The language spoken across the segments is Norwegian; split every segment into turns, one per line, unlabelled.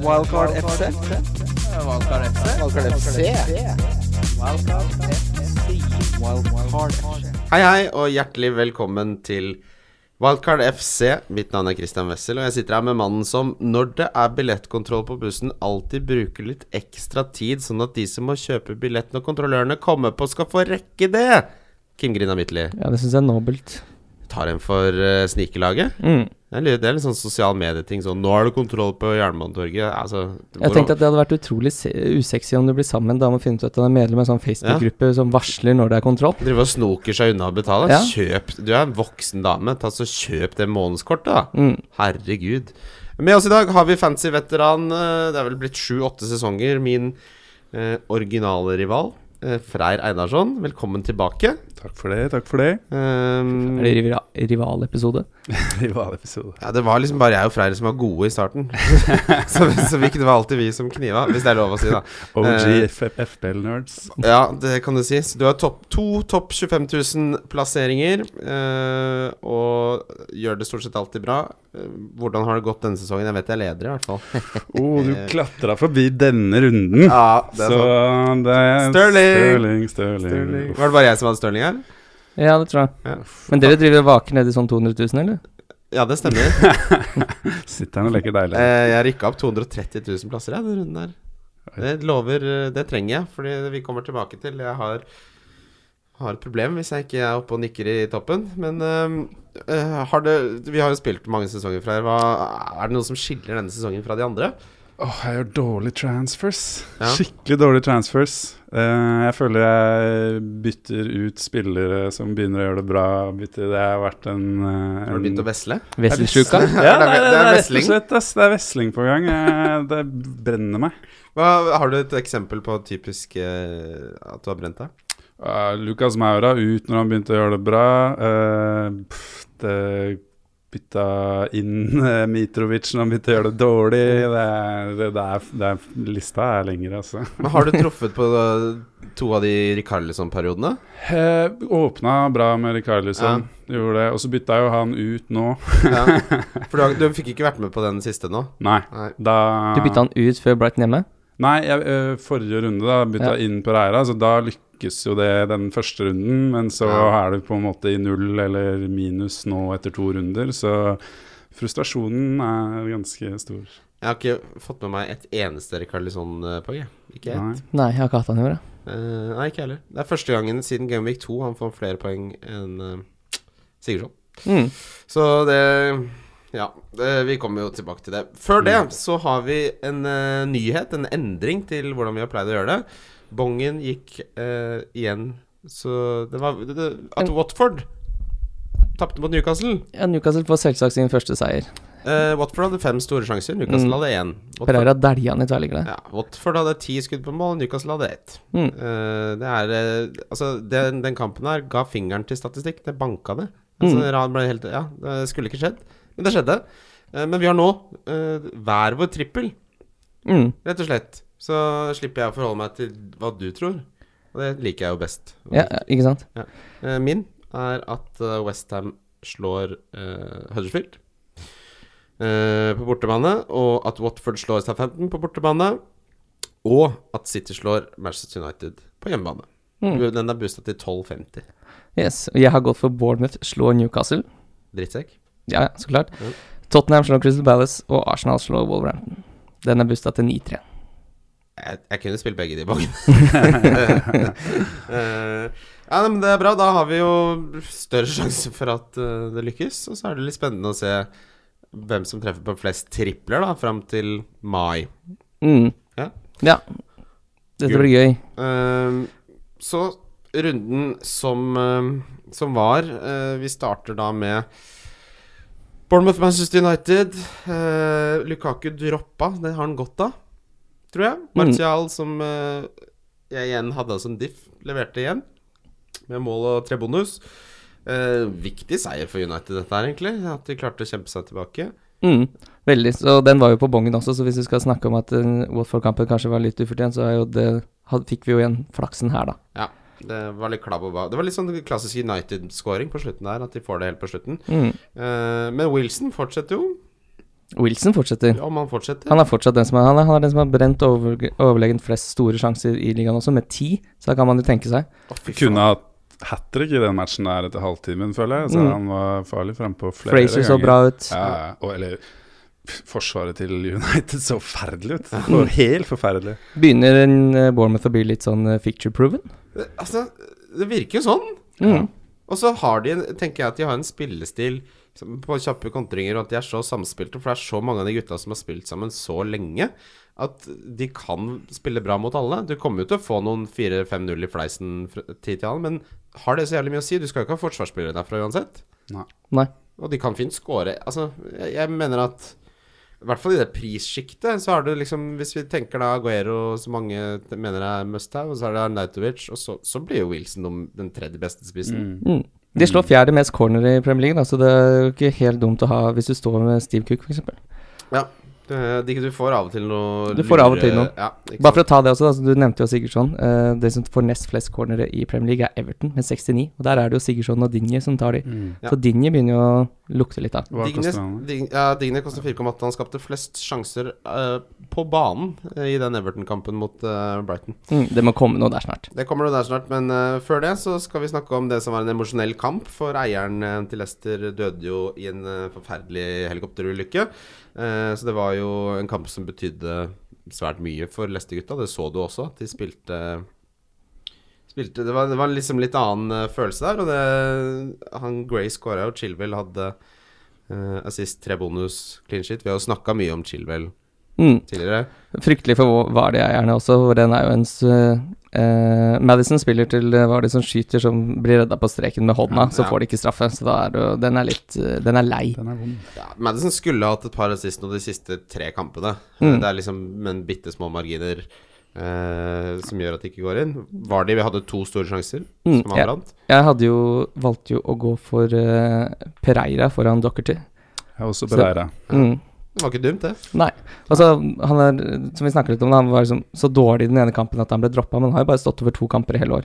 Wildcard FC.
Valkar FC.
Wildcard FC. Wildcard FC.
Hei, hei, og hjertelig velkommen til Wildcard FC. Mitt navn er Christian Wessel, og jeg sitter her med mannen som, når det er billettkontroll på bussen, alltid bruker litt ekstra tid, sånn at de som må kjøpe billett når kontrollørene kommer på, skal få rekke det. Kim Grina Midtly
Ja, det syns jeg er nobelt.
tar en for eh, snikelaget.
Mm.
Det er litt, det er litt sånn sosial medieting. Sånn 'Nå er det kontroll på Jernbanetorget'. Altså,
Jeg tenkte at det hadde vært utrolig se- usexy om du blir sammen med en dame og finner ut at hun er medlem av en sånn Facebook-gruppe som varsler når det er kontroll.
Drive og snoker seg unna å betale.
Ja.
Kjøp Du er en voksen dame. Ta så Kjøp det månedskortet, da.
Mm.
Herregud. Med oss i dag har vi fancy veteran. eh, Det er vel blitt sju-åtte sesonger. Min eh, originale rival, eh, Freyr Einarsson. Velkommen tilbake.
Takk for det, takk for det.
Um,
Er det riva rivalepisode?
Rivalepisode.
ja, det var liksom bare jeg og Freyr som var gode i starten. så, så vi- det var alltid vi som kniva, hvis det er lov å si, da. Eh,
OG FPL-nerds.
Ja, det kan du si. Så du har topp, to topp 25 000 plasseringer, eh, og gjør det stort sett alltid bra. Eh, Hvordan har det gått denne sesongen? Jeg vet jeg leder, i hvert fall.
Oh, du klatra forbi denne runden.
Ja, det er
Så det er
Sterling!
Stirling, Stirling.
Stirling.
Uff.
Var det bare jeg som hadde Stirling her?
Ja, det tror jeg.
Ja.
Men dere driver og vaker nede i sånn 200 000, eller?
Ja, det stemmer.
Sitter han og leker deilig.
Eh, jeg rykka opp 230 000 plasser jeg, den runden her. Det lover eh, Det trenger jeg, fordi vi kommer tilbake til Jeg har, har et problem hvis jeg ikke er oppe og nikker i toppen. Men eh, eh, har det Vi har jo spilt mange sesonger fra her. Hva, er det noe som skiller denne sesongen fra de andre?
Åh, jeg gjør dårlige transfers.
Ja.
Skikkelig dårlige transfers. Eh, jeg føler jeg bytter ut spillere som begynner å gjøre det bra. Bytter, det har vært en, eh,
Har du
en
begynt å vesle?
Wesselsjuka?
Ja, det er, det er
vesling.
vesling. Det er, det er vesling på gang. Jeg, det brenner meg.
Hva, har du et eksempel på typisk eh, at du har brent deg?
Eh, Lucas Maura ut når han begynte å gjøre det bra. Eh, pff, det bytta inn eh, Mitrovic når han begynte å gjøre det dårlig. Det er, det, det er, det er, lista er lengre, altså.
Men har du truffet på eh, to av de Rikarlison-periodene?
Eh, åpna bra med Rikarlison, gjorde det. Og så bytta jo han ut nå.
Ja. For du, har- du fikk ikke vært med på den siste nå?
Nei,
Nei.
da
Du bytta han ut før Brighton hjemme?
Nei, jeg, eh, forrige runde da bytta jeg inn på Reira, så da lykkes jo det den første runden, men så
Ja.
er du på en måte i null eller minus nå etter to runder, så frustrasjonen er ganske stor.
Jeg har ikke fått med meg et eneste Rikarlison-poeng. eh, jeg. Ikke ett.
Nei.
Nei, jeg har ikke hatt han i år. jeg.
Eh, nei, ikke heller. Det er første gangen siden Gameweek 2 han får flere poeng enn eh, Sigurdsson.
Mm.
Så det Ja, det, vi kommer jo tilbake til det. Før det
Mm.
så har vi en eh, nyhet, en endring til hvordan vi har pleid å gjøre det. Bongen gikk eh, igjen, så det var det, det, At Watford tapte mot Newcastle.
Ja, Newcastle får selvsagt sin første seier.
Eh, Watford hadde fem store sjanser, Newcastle
Mm.
hadde én. Watford,
Pereira dælja han i tverrliggeren.
ja, Watford hadde ti skudd på mål, Newcastle hadde ett.
Mm.
Eh, det er eh, Altså, den, den kampen her ga fingeren til statistikk. Det banka det. Altså,
Mm.
Ran ble helt Ja, det skulle ikke skjedd, men det skjedde. Eh, men vi har nå eh, hver vår trippel,
Mm.
rett og slett. Så slipper jeg å forholde meg til hva du tror. Og det liker jeg jo best.
Ja, ja, ikke sant?
Eh, min er at eh, West Ham slår eh, Huddersfield eh, på bortebane, og at Watford slår Southampton på bortebane, og at City slår Manchester United på hjemmebane.
Mm.
Den er boosta til 12,50.
Yes. og Jeg har gått for Bournemouth slår Newcastle.
Drittsekk.
Ja, ja, så klart.
Mm.
Tottenham slår Crystal Palace, og Arsenal slår Wolverhampton. Den er busta til 9-3.
Jeg, jeg kunne spilt begge de bangene. Eh, ja, nei, men det er bra. Da har vi jo større sjanse for at eh, det lykkes. Og så er det litt spennende å se hvem som treffer på flest tripler da, fram til mai.
Mm.
Ja.
ja. Dette blir gøy.
Ehm, så runden som, ehm, som var eh, Vi starter da med Bournemouth Manchester United. Eh, Lukaku droppa, det har han godt av, tror jeg. Martial, som eh, jeg igjen hadde som diff, leverte igjen. Med mål og tre bonus. Eh, viktig seier for United, dette her, egentlig. At de klarte å kjempe seg tilbake.
Mm. Veldig. Så den var jo på bongen også, så hvis vi skal snakke om at eh, Watford-kampen kanskje var litt ufortjent, så er jo det had, fikk vi jo igjen flaksen her, da.
Ja, det var litt klabb og ba. Det var litt sånn klassisk United-scoring på slutten der, at de får det helt på slutten.
Mm.
Eh, men Wilson fortsetter jo.
Wilson fortsetter.
Om han fortsetter.
Han er fortsatt den som er, han er, han er den som har brent over, overlegent flest store sjanser i ligaen også, med ti. Så da kan man jo tenke seg.
Å, fy faen.
Kunne hatt hat trick i den matchen der etter halvtimen, føler jeg. Så
Mm.
han var farlig frempå flere
Frazier så
ganger.
bra ut.
Ja, ja. og, eller pff, Forsvaret til United så forferdelig ut. Det var Helt forferdelig.
Begynner en eh, Bournemouth å bli litt sånn eh, picture proven?
Det- Altså, det virker jo sånn.
Mm.
Og så har de, en- tenker jeg at de har en spillestil som- på kjappe kontringer, og at de er så samspilte, for det er så mange av de gutta som har spilt sammen så lenge, at de kan spille bra mot alle. Du kommer jo til å få noen 4-5-0 i fleisen fra tid til annen, men har det så jævlig mye å si? Du skal jo ikke ha forsvarsspillere derfra uansett.
Nei.
Og de kan fint score. Altså, jeg, jeg mener at i hvert fall i det prissjiktet, så har du liksom Hvis vi tenker da Aguero, som mange t- mener er must-have, og så er det Arnautovic, og så, så blir jo Wilson den- den tredje beste spissen.
Mm. De slår fjerde mest corner i Premier League, da, så det er jo ikke helt dumt å ha hvis du står med Steve Cook, f.eks.
Ja. Du, de- du får av og til noe
Du får av og til
lure-
noe.
Ja, ikke
Bare
sant?
for å ta det også, da, så du nevnte jo Sigurdsson. eh, det som får nest flest cornere i Premier League, er Everton med 69. Og der er det jo Sigurdsson og Dinje som tar de.
Ja.
Så Dinje begynner jo å lukte litt, da.
Hva
Mm. Dignes,
koster han?
Dig- ja, Digne koster 4,8. Han skapte flest sjanser eh, på banen eh, i den Everton-kampen mot eh, Brighton.
Mm, det må komme noe der snart.
Det kommer det der snart, men eh, før det så skal vi snakke om det som var en emosjonell kamp. For eieren eh, til Leicester døde jo i en eh, forferdelig helikopterulykke. Eh, så det var jo en kamp som betydde svært mye for Leicester-gutta. Det så du også. at De spilte, spilte det, var, det var liksom litt annen eh, følelse der. Og det, han Gray skåra, og Chilwell hadde eh, assist, tre bonus, clean shit. Vi har jo snakka mye om Chilwell
Mm.
tidligere.
Fryktelig for Vardi-eierne også, for den er jo en s- eh, Madison spiller til eh, Vardy som skyter, som blir redda på streken med hånda. Så
Ja.
får de ikke straffe, så da er det, jo- den er litt eh, Den er lei.
Den er vond.
Ja, Madison skulle hatt et par assist nå de siste tre kampene.
Mm.
Det er liksom men bitte små marginer eh, som gjør at det ikke går inn. Vardi vi hadde to store sjanser
Mm,
som han
ja.
brant.
Jeg hadde jo valgte jo å gå for eh, Pereira foran Dockerty.
Jeg er også
Så-
Bereira.
Mm.
Det var ikke dumt, det.
Nei. Altså, han er, som vi snakket litt om, han var liksom så dårlig i den ene kampen at han ble droppa, men han har jo bare stått over to kamper i hele år.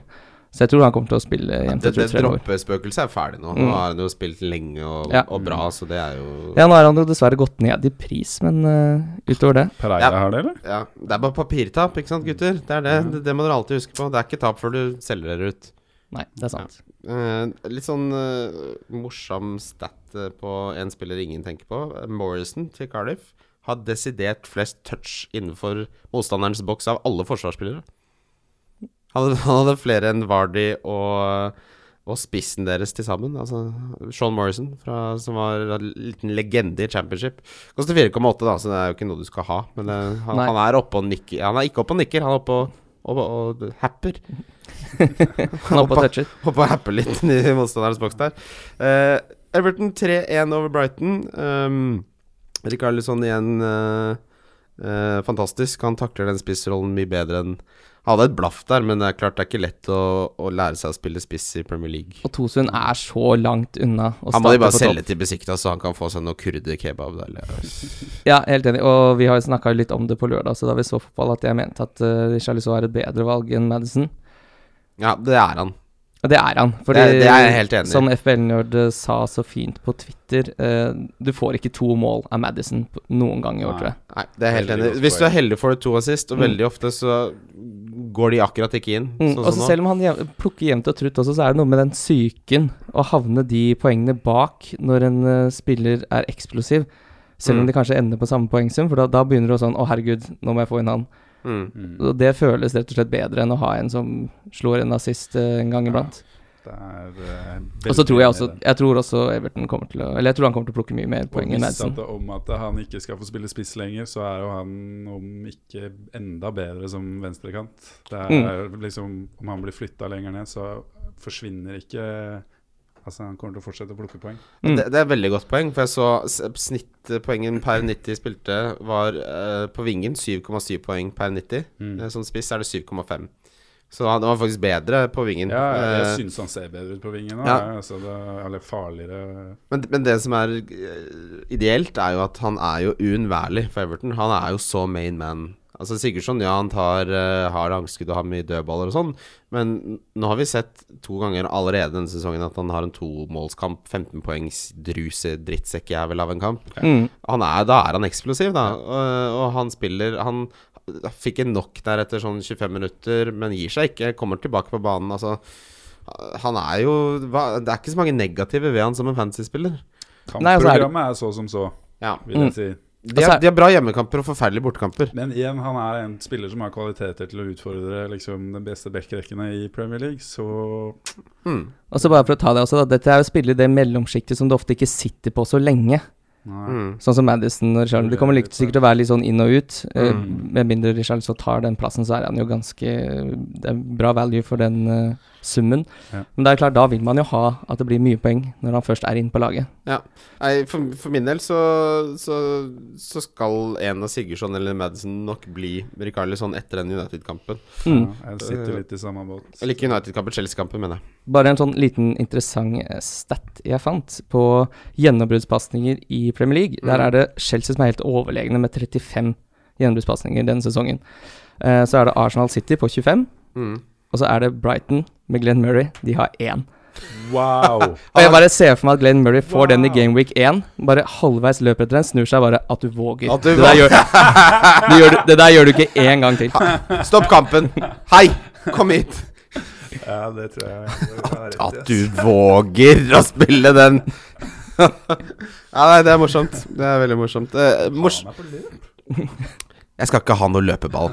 Så jeg tror han kommer til å spille jevnt
Det, det
og trutt fremover.
droppespøkelset er ferdig nå.
Mm.
Nå har han jo spilt lenge og,
Ja.
og bra, så det er jo ja.
Ja, nå har han jo dessverre gått ned i pris, men eh, utover det
Pereira
Ja.
har det, eller?
Det er bare papirtap, ikke sant, gutter? Det er det. Det, det må dere alltid huske på. Det er ikke tap før du selger dere ut.
Nei, det er sant.
Eh, litt sånn eh, morsom stat eh, på en spiller ingen tenker på. Eh, Morrison til Cardiff har desidert flest touch innenfor motstanderens boks av alle forsvarsspillere. Han hadde, han hadde flere enn Vardy og, og spissen deres til sammen. Altså Sean Morrison, fra, som var en liten legende i championship. Koster 4,8, da, så det er jo ikke noe du skal ha. Men det, han,
Nei.
han er oppe og nikker. Han er ikke oppe og nikker, han er oppe og, og, og happer.
Han er oppe og toucher.
Håper jeg happer litt i motstanderens boks der. Eh, Everton 3-1 over Brighton. Um, Rikarlison igjen eh, eh, fantastisk. Han takler den spissrollen mye bedre enn Han hadde et blaff der, men det er klart det er ikke lett å, å lære seg å spille spiss i Premier League.
Og Tosun er så langt unna å
Han må de
starte
bare
på
selge
topp.
til Besikta, så han kan få seg noe kurderkebab der. eller-
Ja, helt enig. Og vi har jo snakka litt om det på lørdag, så da vi så fotball, at jeg mente at uh, Charlisson er et bedre valg enn Madison.
Ja, det er han.
Ja, Det er han. Fordi,
Det- det er jeg helt enig i.
Som FBL-nerd eh, sa så fint på Twitter, eh, du får ikke to mål av Madison på- noen gang i år,
Nei.
tror jeg.
Nei, det er helt
Veldig
enig.
godt
Hvis du
poeng.
er heldig, får du to assist, og
Mm.
veldig ofte så går de akkurat ikke inn.
Mm,
sånn
og
som
så
nå.
Selv om han jev- plukker jevnt og trutt også, så er det noe med den psyken å havne de poengene bak når en eh, spiller er eksplosiv. Selv om
Mm.
de kanskje ender på samme poengsum, for da, da begynner du å sånn Å, herregud, nå må jeg få inn han.
mm.
Og det føles rett og slett bedre enn å ha en som slår en assist eh, en gang
Ja.
iblant.
Det er, eh,
Og så tror jeg også
veldig enig i det.
Jeg tror også Everton kommer til å Eller jeg tror han kommer til å plukke mye mer
Og
poeng enn
hvis at
Madison.
det om at han ikke skal få spille spiss lenger, så er jo han om ikke enda bedre som venstrekant. Det er
Mm.
liksom Om han blir flytta lenger ned, så forsvinner ikke Altså, han kommer til å fortsette å plukke poeng.
Mm.
Det, det er et veldig godt poeng, for jeg så s- snittpoengen per 90 spilte var eh, på vingen 7,7 poeng per 90.
Mm.
Eh, som spiss er det 7,5. Så han var faktisk bedre på vingen.
Ja, jeg
Eh,
syns han ser bedre ut på vingen nå.
Ja.
Ja. Altså, det er eller farligere
men, men det som er eh, ideelt, er jo at han er jo uunnværlig for Everton. Han er jo så main man. Altså Sigurdsson, ja, han tar, eh, har langskudd og har mye dødballer og sånn, men nå har vi sett to ganger allerede denne sesongen at han har en tomålskamp, 15 poengs druse drittsekkjævel av en kamp.
Mm.
Han er, da er han eksplosiv, da. Og, og han spiller Han fikk en knock der etter sånn 25 minutter, men gir seg ikke. Kommer tilbake på banen. Altså, han er jo hva, Det er ikke så mange negative ved han som en fantasyspiller.
Nei, altså, er det-
Kampprogrammet er så som så,
Ja.
vil jeg
Mm.
si.
De
Altså,
har, de har bra hjemmekamper og forferdelige bortekamper.
Men igjen, han er en spiller som har kvaliteter til å utfordre liksom, den beste backrekkene i Premier League, så
Mm.
Og så bare for å ta det også, da. Dette er jo spillere i det mellomsjiktet som du ofte ikke sitter på så lenge.
Nei.
Mm.
Sånn som Madison og Richarlson. Det kommer likt- sikkert til å være litt sånn inn og ut. eh,
Mm.
Med mindre Richarlson tar den plassen, så er han jo ganske Det er bra value for den eh, summen.
Ja.
Men det er klart, da vil man jo ha at det blir mye poeng når han først er inne på laget.
Nei, for, for min del så, så, så skal en av Sigurdsson eller Madison nok bli Rikarlisson etter den United-kampen.
Mm.
Ja, jeg sitter litt i samme båt.
Eller ikke United-kampen, Chelsea-kampen, mener jeg.
Bare en sånn liten interessant eh, stat jeg fant på gjennombruddspasninger i Premier League. Der
Mm.
er det Chelsea som er helt overlegne med 35 gjennombruddspasninger denne sesongen. Eh, så er det Arsenal City på 25,
Mm.
og så er det Brighton med Glenn Murray. De har én.
Wow!
Og jeg bare ser for meg at Glenn Murray får den i Game Week 1. Bare halvveis løper etter den, snur seg bare at du våger.
At du
det, der gjør, du gjør, du- det der gjør du ikke én gang til.
Stopp kampen! Hei! Kom hit!
Ja, det tror jeg det har rett i,
At
ass.
du våger å spille den! ja, nei, det er morsomt. Det er veldig morsomt. Eh, mors
Faen, jeg er på lur.
jeg skal ikke ha noe løpeball.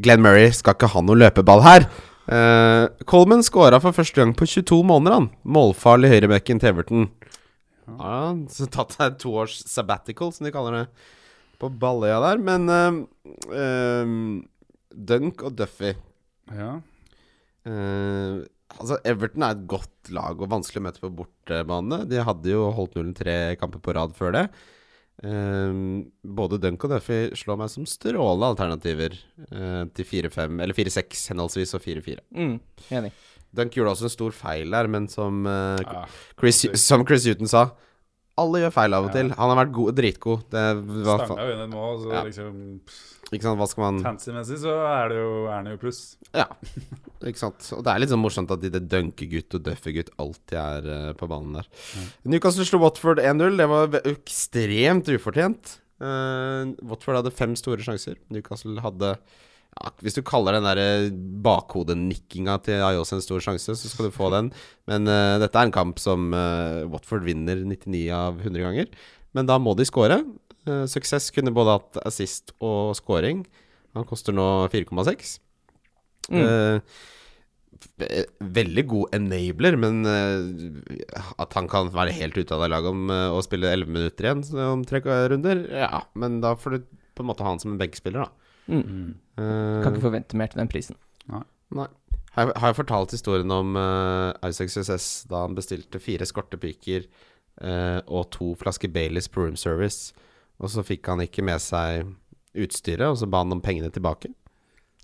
Glenn Murray skal ikke ha noe løpeball her. Eh, Coleman scora for første gang på 22 måneder, han. Målfarlig høyrebekken til Everton. Ja, han har tatt seg to års sabbatical, som de kaller det, på Balløya der. Men eh, eh, Dunk og Duffy
Ja.
Eh, altså Everton er et godt lag og vanskelig å møte på bortebane. De hadde jo holdt nullen tre kamper på rad før det. Eh, både Dunk og Duffy slår meg som strålende alternativer eh, til 4-5, eller 4-6 henholdsvis, og 4-4.
Mm, enig.
Dunk gjorde også en stor feil her, men som, eh,
Ja.
Chris, som Chris Huton sa alle gjør feil av og
Ja.
til. Han har vært god, dritgod. Det, hva,
Stanga
faen-
jo inn et mål, så
Ja.
liksom
ikke sant, hva skal man
Fancy-messig så er det jo, er det jo pluss.
Ja, ikke sant. Og det er litt sånn morsomt at de der dunke-gutt og duffe-gutt alltid er eh, på banen der. Newcastle slo Watford 1-0. Det var ve- ekstremt ufortjent. Eh, Watford hadde fem store sjanser. Newcastle hadde ja, Hvis du kaller den der eh, bakhodenikkinga til Ayos en stor sjanse, så skal du få den. Men eh, dette er en kamp som eh, Watford vinner 99 av 100 ganger. Men da må de score. Eh, suksess kunne både hatt assist og scoring. Han koster nå 4,6. Eh, ve- eh, veldig god enabler, men eh, at han kan være helt ute av det laget om eh, å spille 11 minutter igjen så om tre runder, ja. Men da får du på en måte ha han som en benkspiller, da.
Mm.
Eh,
Kan ikke forvente mer til den prisen.
Nei. Har jeg, har jeg fortalt historien om eh, Isaac Success da han bestilte fire skortepiker eh, og to flasker Baileys på room service, og så fikk han ikke med seg utstyret, og så ba han om pengene tilbake?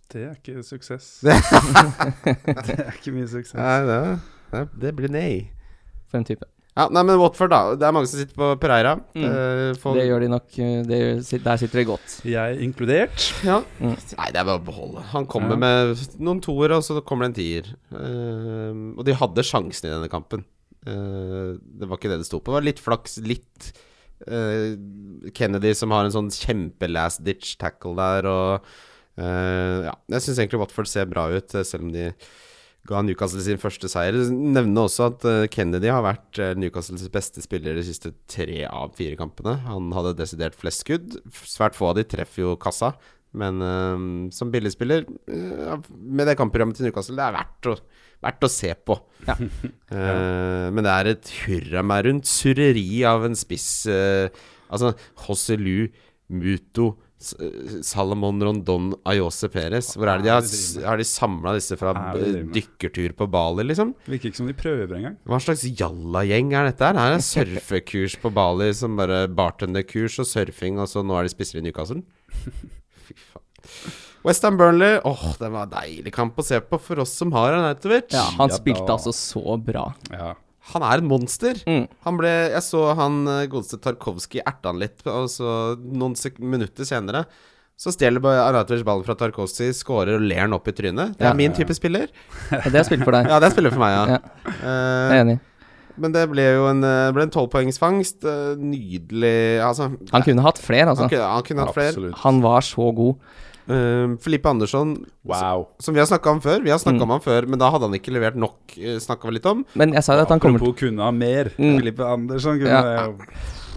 Det er ikke suksess.
Det-
Det er ikke mye suksess.
Nei, det, det, det blir nei.
For en type.
Ja, nei, men Watford, da. Det er mange som sitter på Pereira.
Mm.
Eh, folk-
Det gjør de nok. eh, Det gjør, sit- der sitter de godt.
Jeg inkludert.
Ja.
Mm.
Nei, det er bare å beholde. Han kommer
Ja.
med noen toer, og så kommer det en tier. Eh, og de hadde sjansen i denne kampen. Eh, det var ikke det det sto på. Det var litt flaks, litt eh, Kennedy som har en sånn kjempe-last ditch tackle der, og eh, Ja. Jeg syns egentlig Watford ser bra ut, eh, selv om de ga Newcastle sin første seier. Nevne også at eh, Kennedy har vært eh, Newcastles beste spiller de siste tre av fire kampene. Han hadde desidert flest skudd. F- Svært få av de treffer jo kassa. Men eh, som billigspiller, eh, ja, med det kampprogrammet til Newcastle, det er verdt å, verdt å se på.
Ja.
Eh, men det er et hurra meg rundt surreri av en spiss eh, Altså, Hosselu, Muto, S- eh, Salomon Rondon, Ayose Perez Hvor er det de har, s- har de samla disse fra
Hva er det de driver med?
dykkertur på Bali, liksom?
Virker ikke som de prøver engang.
Hva slags jallagjeng er dette her? Det her er surfekurs på Bali som bare bartenderkurs og surfing, og så nå er de spissere i Newcastle? Fy faen. Westham Burnley, åh, det var en deilig kamp å se på for oss som har Arnautovic.
Ja, han
Ja,
spilte
da.
altså så bra.
Ja.
Han er et monster.
Mm.
Han ble, jeg så han eh, godeste Tarkovskij erte han litt, og så noen sek minutter senere Så stjeler Aratovic ballen fra Tarkosi, scorer og ler den opp i trynet. Det er
Ja.
min type spiller.
Ja, det har spilt for deg.
Ja, det er spiller for meg, ja.
Ja.
Eh,
Jeg er enig.
men det ble jo en eh, ble en tolvpoengsfangst. Uh, nydelig Altså,
Han kunne hatt flere,
han
altså.
kunne, han kunne hatt flere.
Absolutt.
Han var så god.
Eh, Filippe Andersson
Wow.
Som vi har snakka om før. Vi har
Mm.
snakka om han før, men da hadde han ikke levert nok. Snakka vi litt om.
Men jeg sa jo at han kommer til
Apropos kunne ha mer.
Mm.
Filippe Andersson kunne
Ja.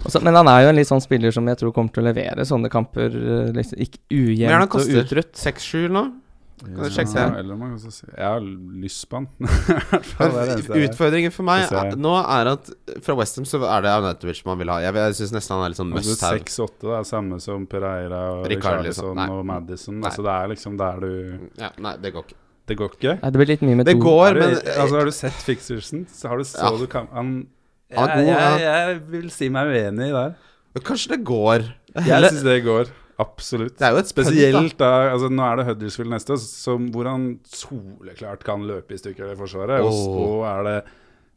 også, Men han er jo en litt sånn spiller som jeg tror kommer til å levere sånne kamper eh, liksom, ikke
Men han
ujevnt og
koster?
utrutt.
6-7 nå. Kan du sjekke
ja,
det?
eller man kan også si Jeg har lyst på han. I hvert fall det er det eneste jeg-
Utfordringen for meg
Det ser jeg.
er, nå er at fra Westham så er det Arnautovic man vil ha. Jeg, jeg syns nesten han er litt sånn
Altså,
must have.
6-8 det er samme som Pereira og
Ricardo,
Richarlison
liksom. Nei.
og Madison.
Nei.
Altså, det er liksom der du
Ja, nei, det går ikke.
Det går ikke.
Nei, det blir litt mye med
Det
to.
går,
Har du,
men
altså, har du sett Fixersen? Så har du så
Ja.
du kan han,
Han er
jeg,
god,
jeg, jeg vil si meg uenig der.
Kanskje det går.
Jeg syns det går. Absolutt.
Det er jo et
Spesielt da altså, Nå er det Huddersfield neste, som, hvor han soleklart kan løpe i stykker det forsvaret. Og så er det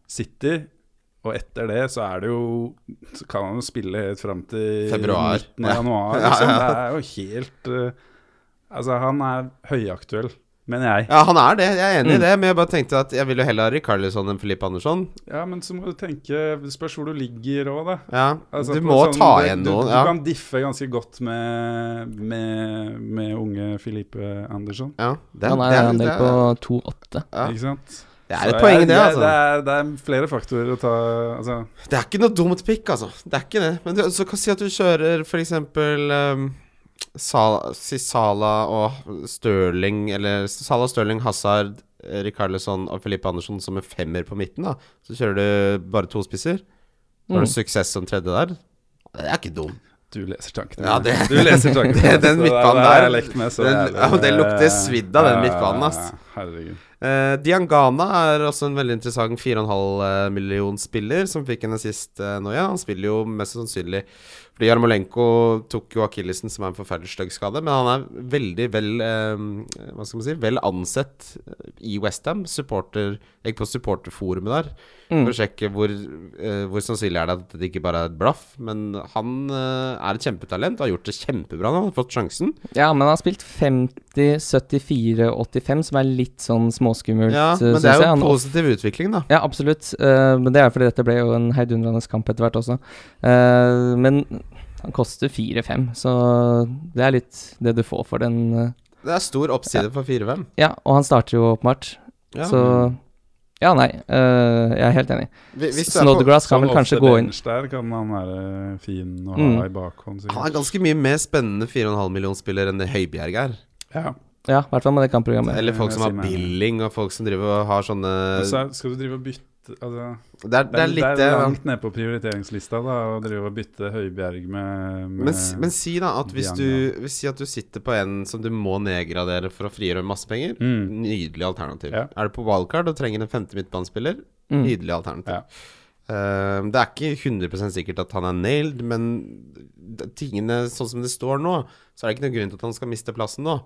City, og etter det så er det jo Så kan han jo spille helt fram til
Februar.
midten av januar.
Ja,
Liksom.
ja.
Det er jo helt eh, Altså, han er høyaktuell, mener jeg.
Ja, han er det. Jeg er
Mm.
enig i det, men jeg bare tenkte at jeg ville jo heller ha Rikarlison enn Filippe Andersson.
Ja, men så må du tenke Det spørs hvor du ligger òg, da.
Ja,
Altså,
du
på
må
sånn-
ta
det-
igjen
du-
noen.
Du
Ja.
kan diffe ganske godt med, med, med unge Filippe Andersson.
ja. Det,
han er
det,
en
det,
del på 2-8.
ja.
Ikke sant?
det er
Så
et poeng i
jeg-
det,
jeg-
altså.
Det er, det er flere faktorer å ta altså,
Det er ikke noe dumt pick, altså. Det er ikke det. Men du, så kan si at du kjører for eksempel um, Sala, si Sala og Stirling Eller Sala, Stirling, Hazard, Rikarlison og Filippe Andersson som en femmer på midten. da Så kjører du bare to spisser. Da har
Mm.
du suksess som tredje der. Det er ikke dumt.
Du leser tankene
Ja,
mine.
det-
Du leser tankene mine,
det- den
så
midtbanen
det har jeg
der,
lekt med, så
den-
det er- eh,
ja, det lukter svidd av den midtbanen, ass.
Herregud.
Eh, Diangana er også en veldig interessant 4,5 million spiller, som fikk en assist eh, nå, ja. Han spiller jo mest sannsynlig fordi Jarmolenko tok jo akillesen, som er en forferdelig stygg skade, men han er veldig vel eh, Hva skal man si Vel ansett eh, i Westham. Supporter Jeg gikk på supporterforumet der
Mm.
for å sjekke hvor, eh, hvor sannsynlig er det at det ikke bare er et blaff. Men han eh, er et kjempetalent, har gjort det kjempebra nå, har fått sjansen.
Ja, men han har spilt 50, 74, 85, som er litt sånn småskummelt,
Ja,
eh,
men
synes
det er jo
jeg.
en
Han-
positiv utvikling, da.
Ja, absolutt. eh, men det er fordi dette ble jo en heidundrende kamp etter hvert også. Eh, men han koster 4-5, så det er litt det du får for den. eh.
Det er stor oppside for 4-5.
ja, og han starter jo åpenbart,
Ja.
Mm.
så Ja, nei. eh, jeg er helt enig.
Hvi- hvis du er på-
Snodgrass kan
Sånn
vel kanskje
off the
gå inn
bench Der kan han være fin å ha
Mm.
i bakhånd,
Han er
sikkert.
ganske mye mer spennende 4,5 millionspiller enn det Høibjerg er.
Ja.
Ja, i hvert fall med det kampprogrammet.
Eller folk
jeg
som har
sier meg enig.
billing, og folk som driver og har sånne
Og så er- skal du drive og bytte altså,
Det er, det er litt eh, det. da.
langt nede på prioriteringslista da, å drive og bytte Høibjerg med, med
Men, s- men si da at hvis du hvis Si at du sitter på en som du må nedgradere for å frigjøre masse penger.
mm.
Nydelig alternativ.
Ja.
Er du på wildcard og trenger en femte midtbanespiller,
Mm.
nydelig alternativ. Ehm, det er ikke 100 sikkert at han er nailed, men d- tingene sånn som det står nå, så er det ikke noen grunn til at han skal miste plassen nå.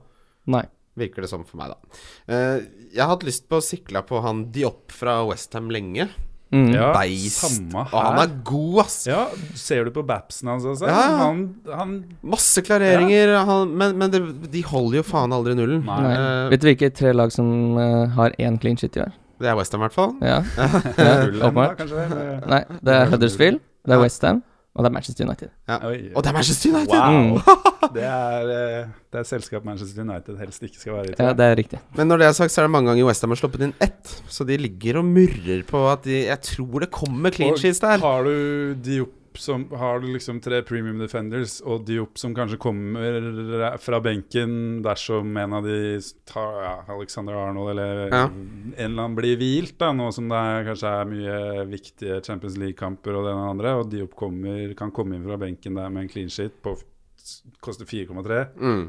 Nei.
Virker det som for meg, da. Eh, jeg har hatt lyst på å sikle på han Diop fra Westham lenge.
Mm.
Ja,
Beist.
samme
Og han
her.
er god, ass!
Ja, ser du på Bapsen hans, altså?
Ja, ja.
Han, han
Masse klareringer, han, men, men det, de holder jo faen aldri nullen.
Nei.
Nei.
Eh,
Vet du hvilke tre lag som eh, har én clean shit i år?
det er Westham, i hvert fall.
Ja,
er
ja åpenbart.
kanskje? eller?
Nei, det er Huddersfield, det
Ja.
er Westham, og det er Manchester United. Mm.
Ja.
Oi.
Og det er Mm. Manchester United!
Wow! det, er, eh, det er et selskap Manchester United helst ikke skal være i. tror
Ja,
jeg.
det er riktig.
Men når det er sagt, så er det mange ganger Westham har sluppet inn ett. Så de ligger og murrer på at de Jeg tror det kommer clean
Og
sheets der.
Har du Diop som Har du liksom tre premium defenders og Diop som kanskje kommer fra benken dersom en av de tar ja, Alexander Arnold eller
Ja.
en eller annen blir hvilt, da, nå som det er, kanskje er mye viktige Champions League-kamper og det ene og det andre, og Diop kommer, kan komme inn fra benken der med en clean sheet på f- koster 4,3
Mm.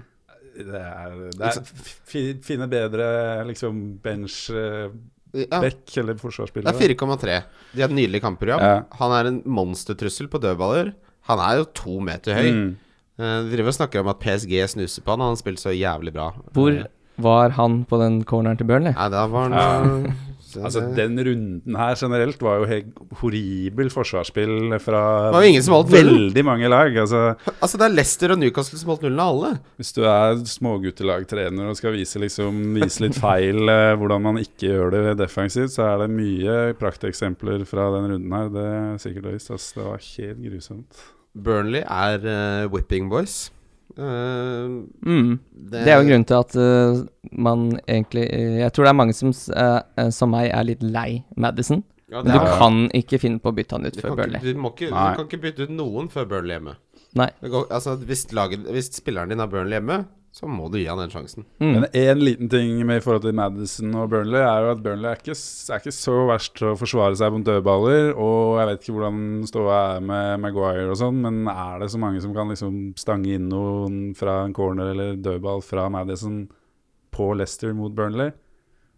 Det er, det er fi, Finne bedre liksom bench-back
Ja.
eller
Det
forsvarsspillere.
er 4,3. De har et nydelig kampprogram.
Ja.
Han er en monstertrussel på dødballer. Han er jo to meter høy.
Mm.
Eh, De driver og snakker om at PSG snuser på han, og han spilte så jævlig bra. Eh,
Hvor var han på den corneren til Burnley?
Nei, da var han Så
Altså,
det-
den runden her generelt var jo helt horribel forsvarsspill fra
Det var jo ingen som holdt nullen.
veldig mange lag. Altså,
Altså, det er Leicester og Newcastle som holdt nullen av alle.
Hvis du er småguttelagtrener og skal vise, liksom, vise litt feil eh, hvordan man ikke gjør det defensivt, så er det mye prakteksempler fra den runden her. Det er sikkert og visst. ass. Det var helt grusomt.
Burnley er eh, whipping boys. Eh,
Mm. Det er jo en grunn til at eh, man egentlig eh, Jeg tror det er mange som, s- eh, eh, som meg, er litt lei Madison.
Ja,
Men
det
du
er-
kan ikke finne på å bytte han ut
Du
før
kan ikke,
Burnley.
du, må ikke, du
Nei.
kan ikke bytte ut noen før Burnley hjemme.
Nei.
Det går, altså, hvis, laget, hvis spilleren din har Burnley hjemme, så må du gi han den sjansen.
Mm.
Men én liten ting med i forhold til Madison og Burnley er jo at Burnley er ikke, s- er ikke så verst til å forsvare seg mot dødballer. Og jeg vet ikke hvordan ståa er med Maguire og sånn, men er det så mange som kan liksom stange inn noen fra en corner eller dødball fra Madison på Leicester mot Burnley?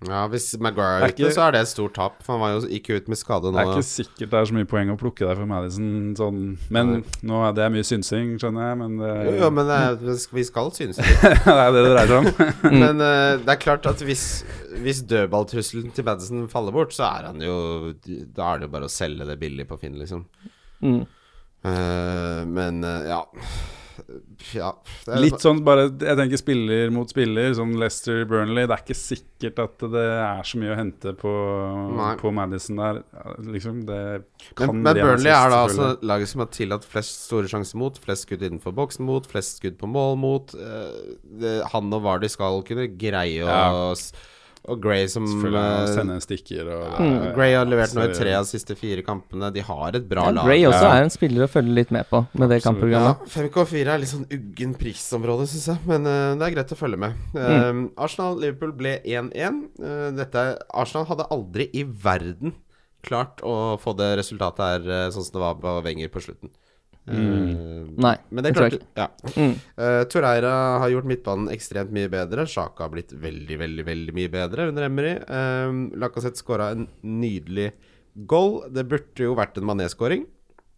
Ja, Hvis Maguire er
Det er
ute,
ikke-
så er det et stort tap. For han var jo, gikk jo ut med skade nå.
Det er ikke sikkert det er så mye poeng å plukke der for Madison. Sånn. Men
Nei.
nå er det mye synsing, skjønner jeg, men det,
Jo, jo, men det er, vi skal- vi skal synes det.
det er det det dreier seg om.
Men eh, det er klart at hvis, hvis dødballtrusselen til Madison faller bort, så er han jo Da er det jo bare å selge det billig på Finn, liksom.
Mm.
Eh, men eh, ja Ja. det er-
Litt sånn bare Jeg tenker spiller mot spiller, sånn Leicester Burnley. Det er ikke sikkert at det er så mye å hente på,
Nei.
på Madison der. Ja, Liksom, det kan
Men, men
bli en
Burnley
assist,
er da altså
selvfølgelig.
laget som har tillatt flest store sjanser mot, flest skudd innenfor boksen mot, flest skudd på mål mot. Eh, det, han og Vardy skal kunne greie å
Ja.
s- Og Gray som
Selvfølgelig å
eh,
sende en stikker og
ja, Gray har levert nå i
så-
tre av de siste fire kampene. De har et bra
Ja,
lag.
Bray også
Ja.
er en spiller å følge litt med på med det
Absolutt.
Ja,
kampprogrammet.
5K4 er litt sånn uggen prisområde, syns jeg. Men eh, det er greit å følge med. Eh, Arsenal-Liverpool ble 1-1. Eh, dette er- Arsenal hadde aldri i verden klart å få det resultatet her eh, sånn som det var på Wenger på slutten. Eh,
Nei,
men det
det
klarte
tror jeg
ja.
Mm.
Eh, Torreira har gjort midtbanen ekstremt mye bedre. Sjaka har blitt veldig, veldig veldig mye bedre under Emery. Uh, Lacassette skåra en nydelig goal. Det burde jo vært en mané-skåring.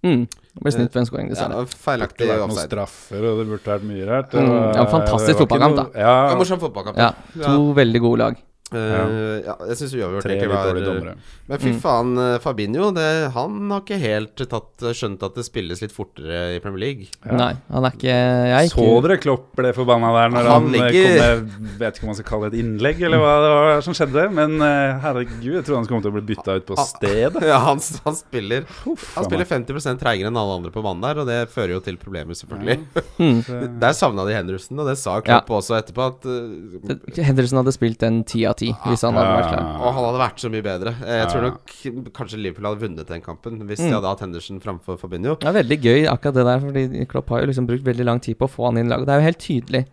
Mm. Ble snytt for en scoring,
Ja, det
dessverre.
var
Det burde
feilaktig
vært noen
offside.
straffer, og det burde vært mye rart.
Mm,
og,
ja, fantastisk
det var ikke
fotballkamp,
noe-
Det var
Ja,
morsom fotballkamp.
Ja, to veldig gode lag.
Eh, ja, jeg syns uavgjort
tre
egentlig
litt
var eh,
dårlige dommere.
Men fy faen, eh, Fabinho det, Han har ikke helt tatt, skjønt at det spilles litt fortere i Premier League.
Ja.
Nei, han er ikke Jeg er
Så
ikke
dere Klopp ble forbanna der når
Han
han, eh,
ligger-
kom med Vet ikke om man skal kalle det et innlegg, eller hva det var som skjedde. Men eh, herregud, jeg trodde han kom til å bli bytta ut på stedet.
Ja, han, han spiller
Huff,
Ah. Han
faen
spiller
meg.
50 treigere enn alle andre på banen der, og det fører jo til problemer, selvfølgelig. Hmm.
Mm.
Der savna de Henderson, og det sa Klopp også etterpå, at eh,
Henderson hadde spilt en ti av ti hvis han hadde vært klar.
Ah.
Og han hadde vært så mye bedre. Eh, Jeg tror
Ja.
nok kanskje Liverpool hadde vunnet den kampen hvis de hadde hatt Henderson framfor Fabinho.
Det er veldig gøy akkurat det der, fordi Klopp har jo liksom brukt veldig lang tid på å få han inn i laget. Det er jo helt tydelig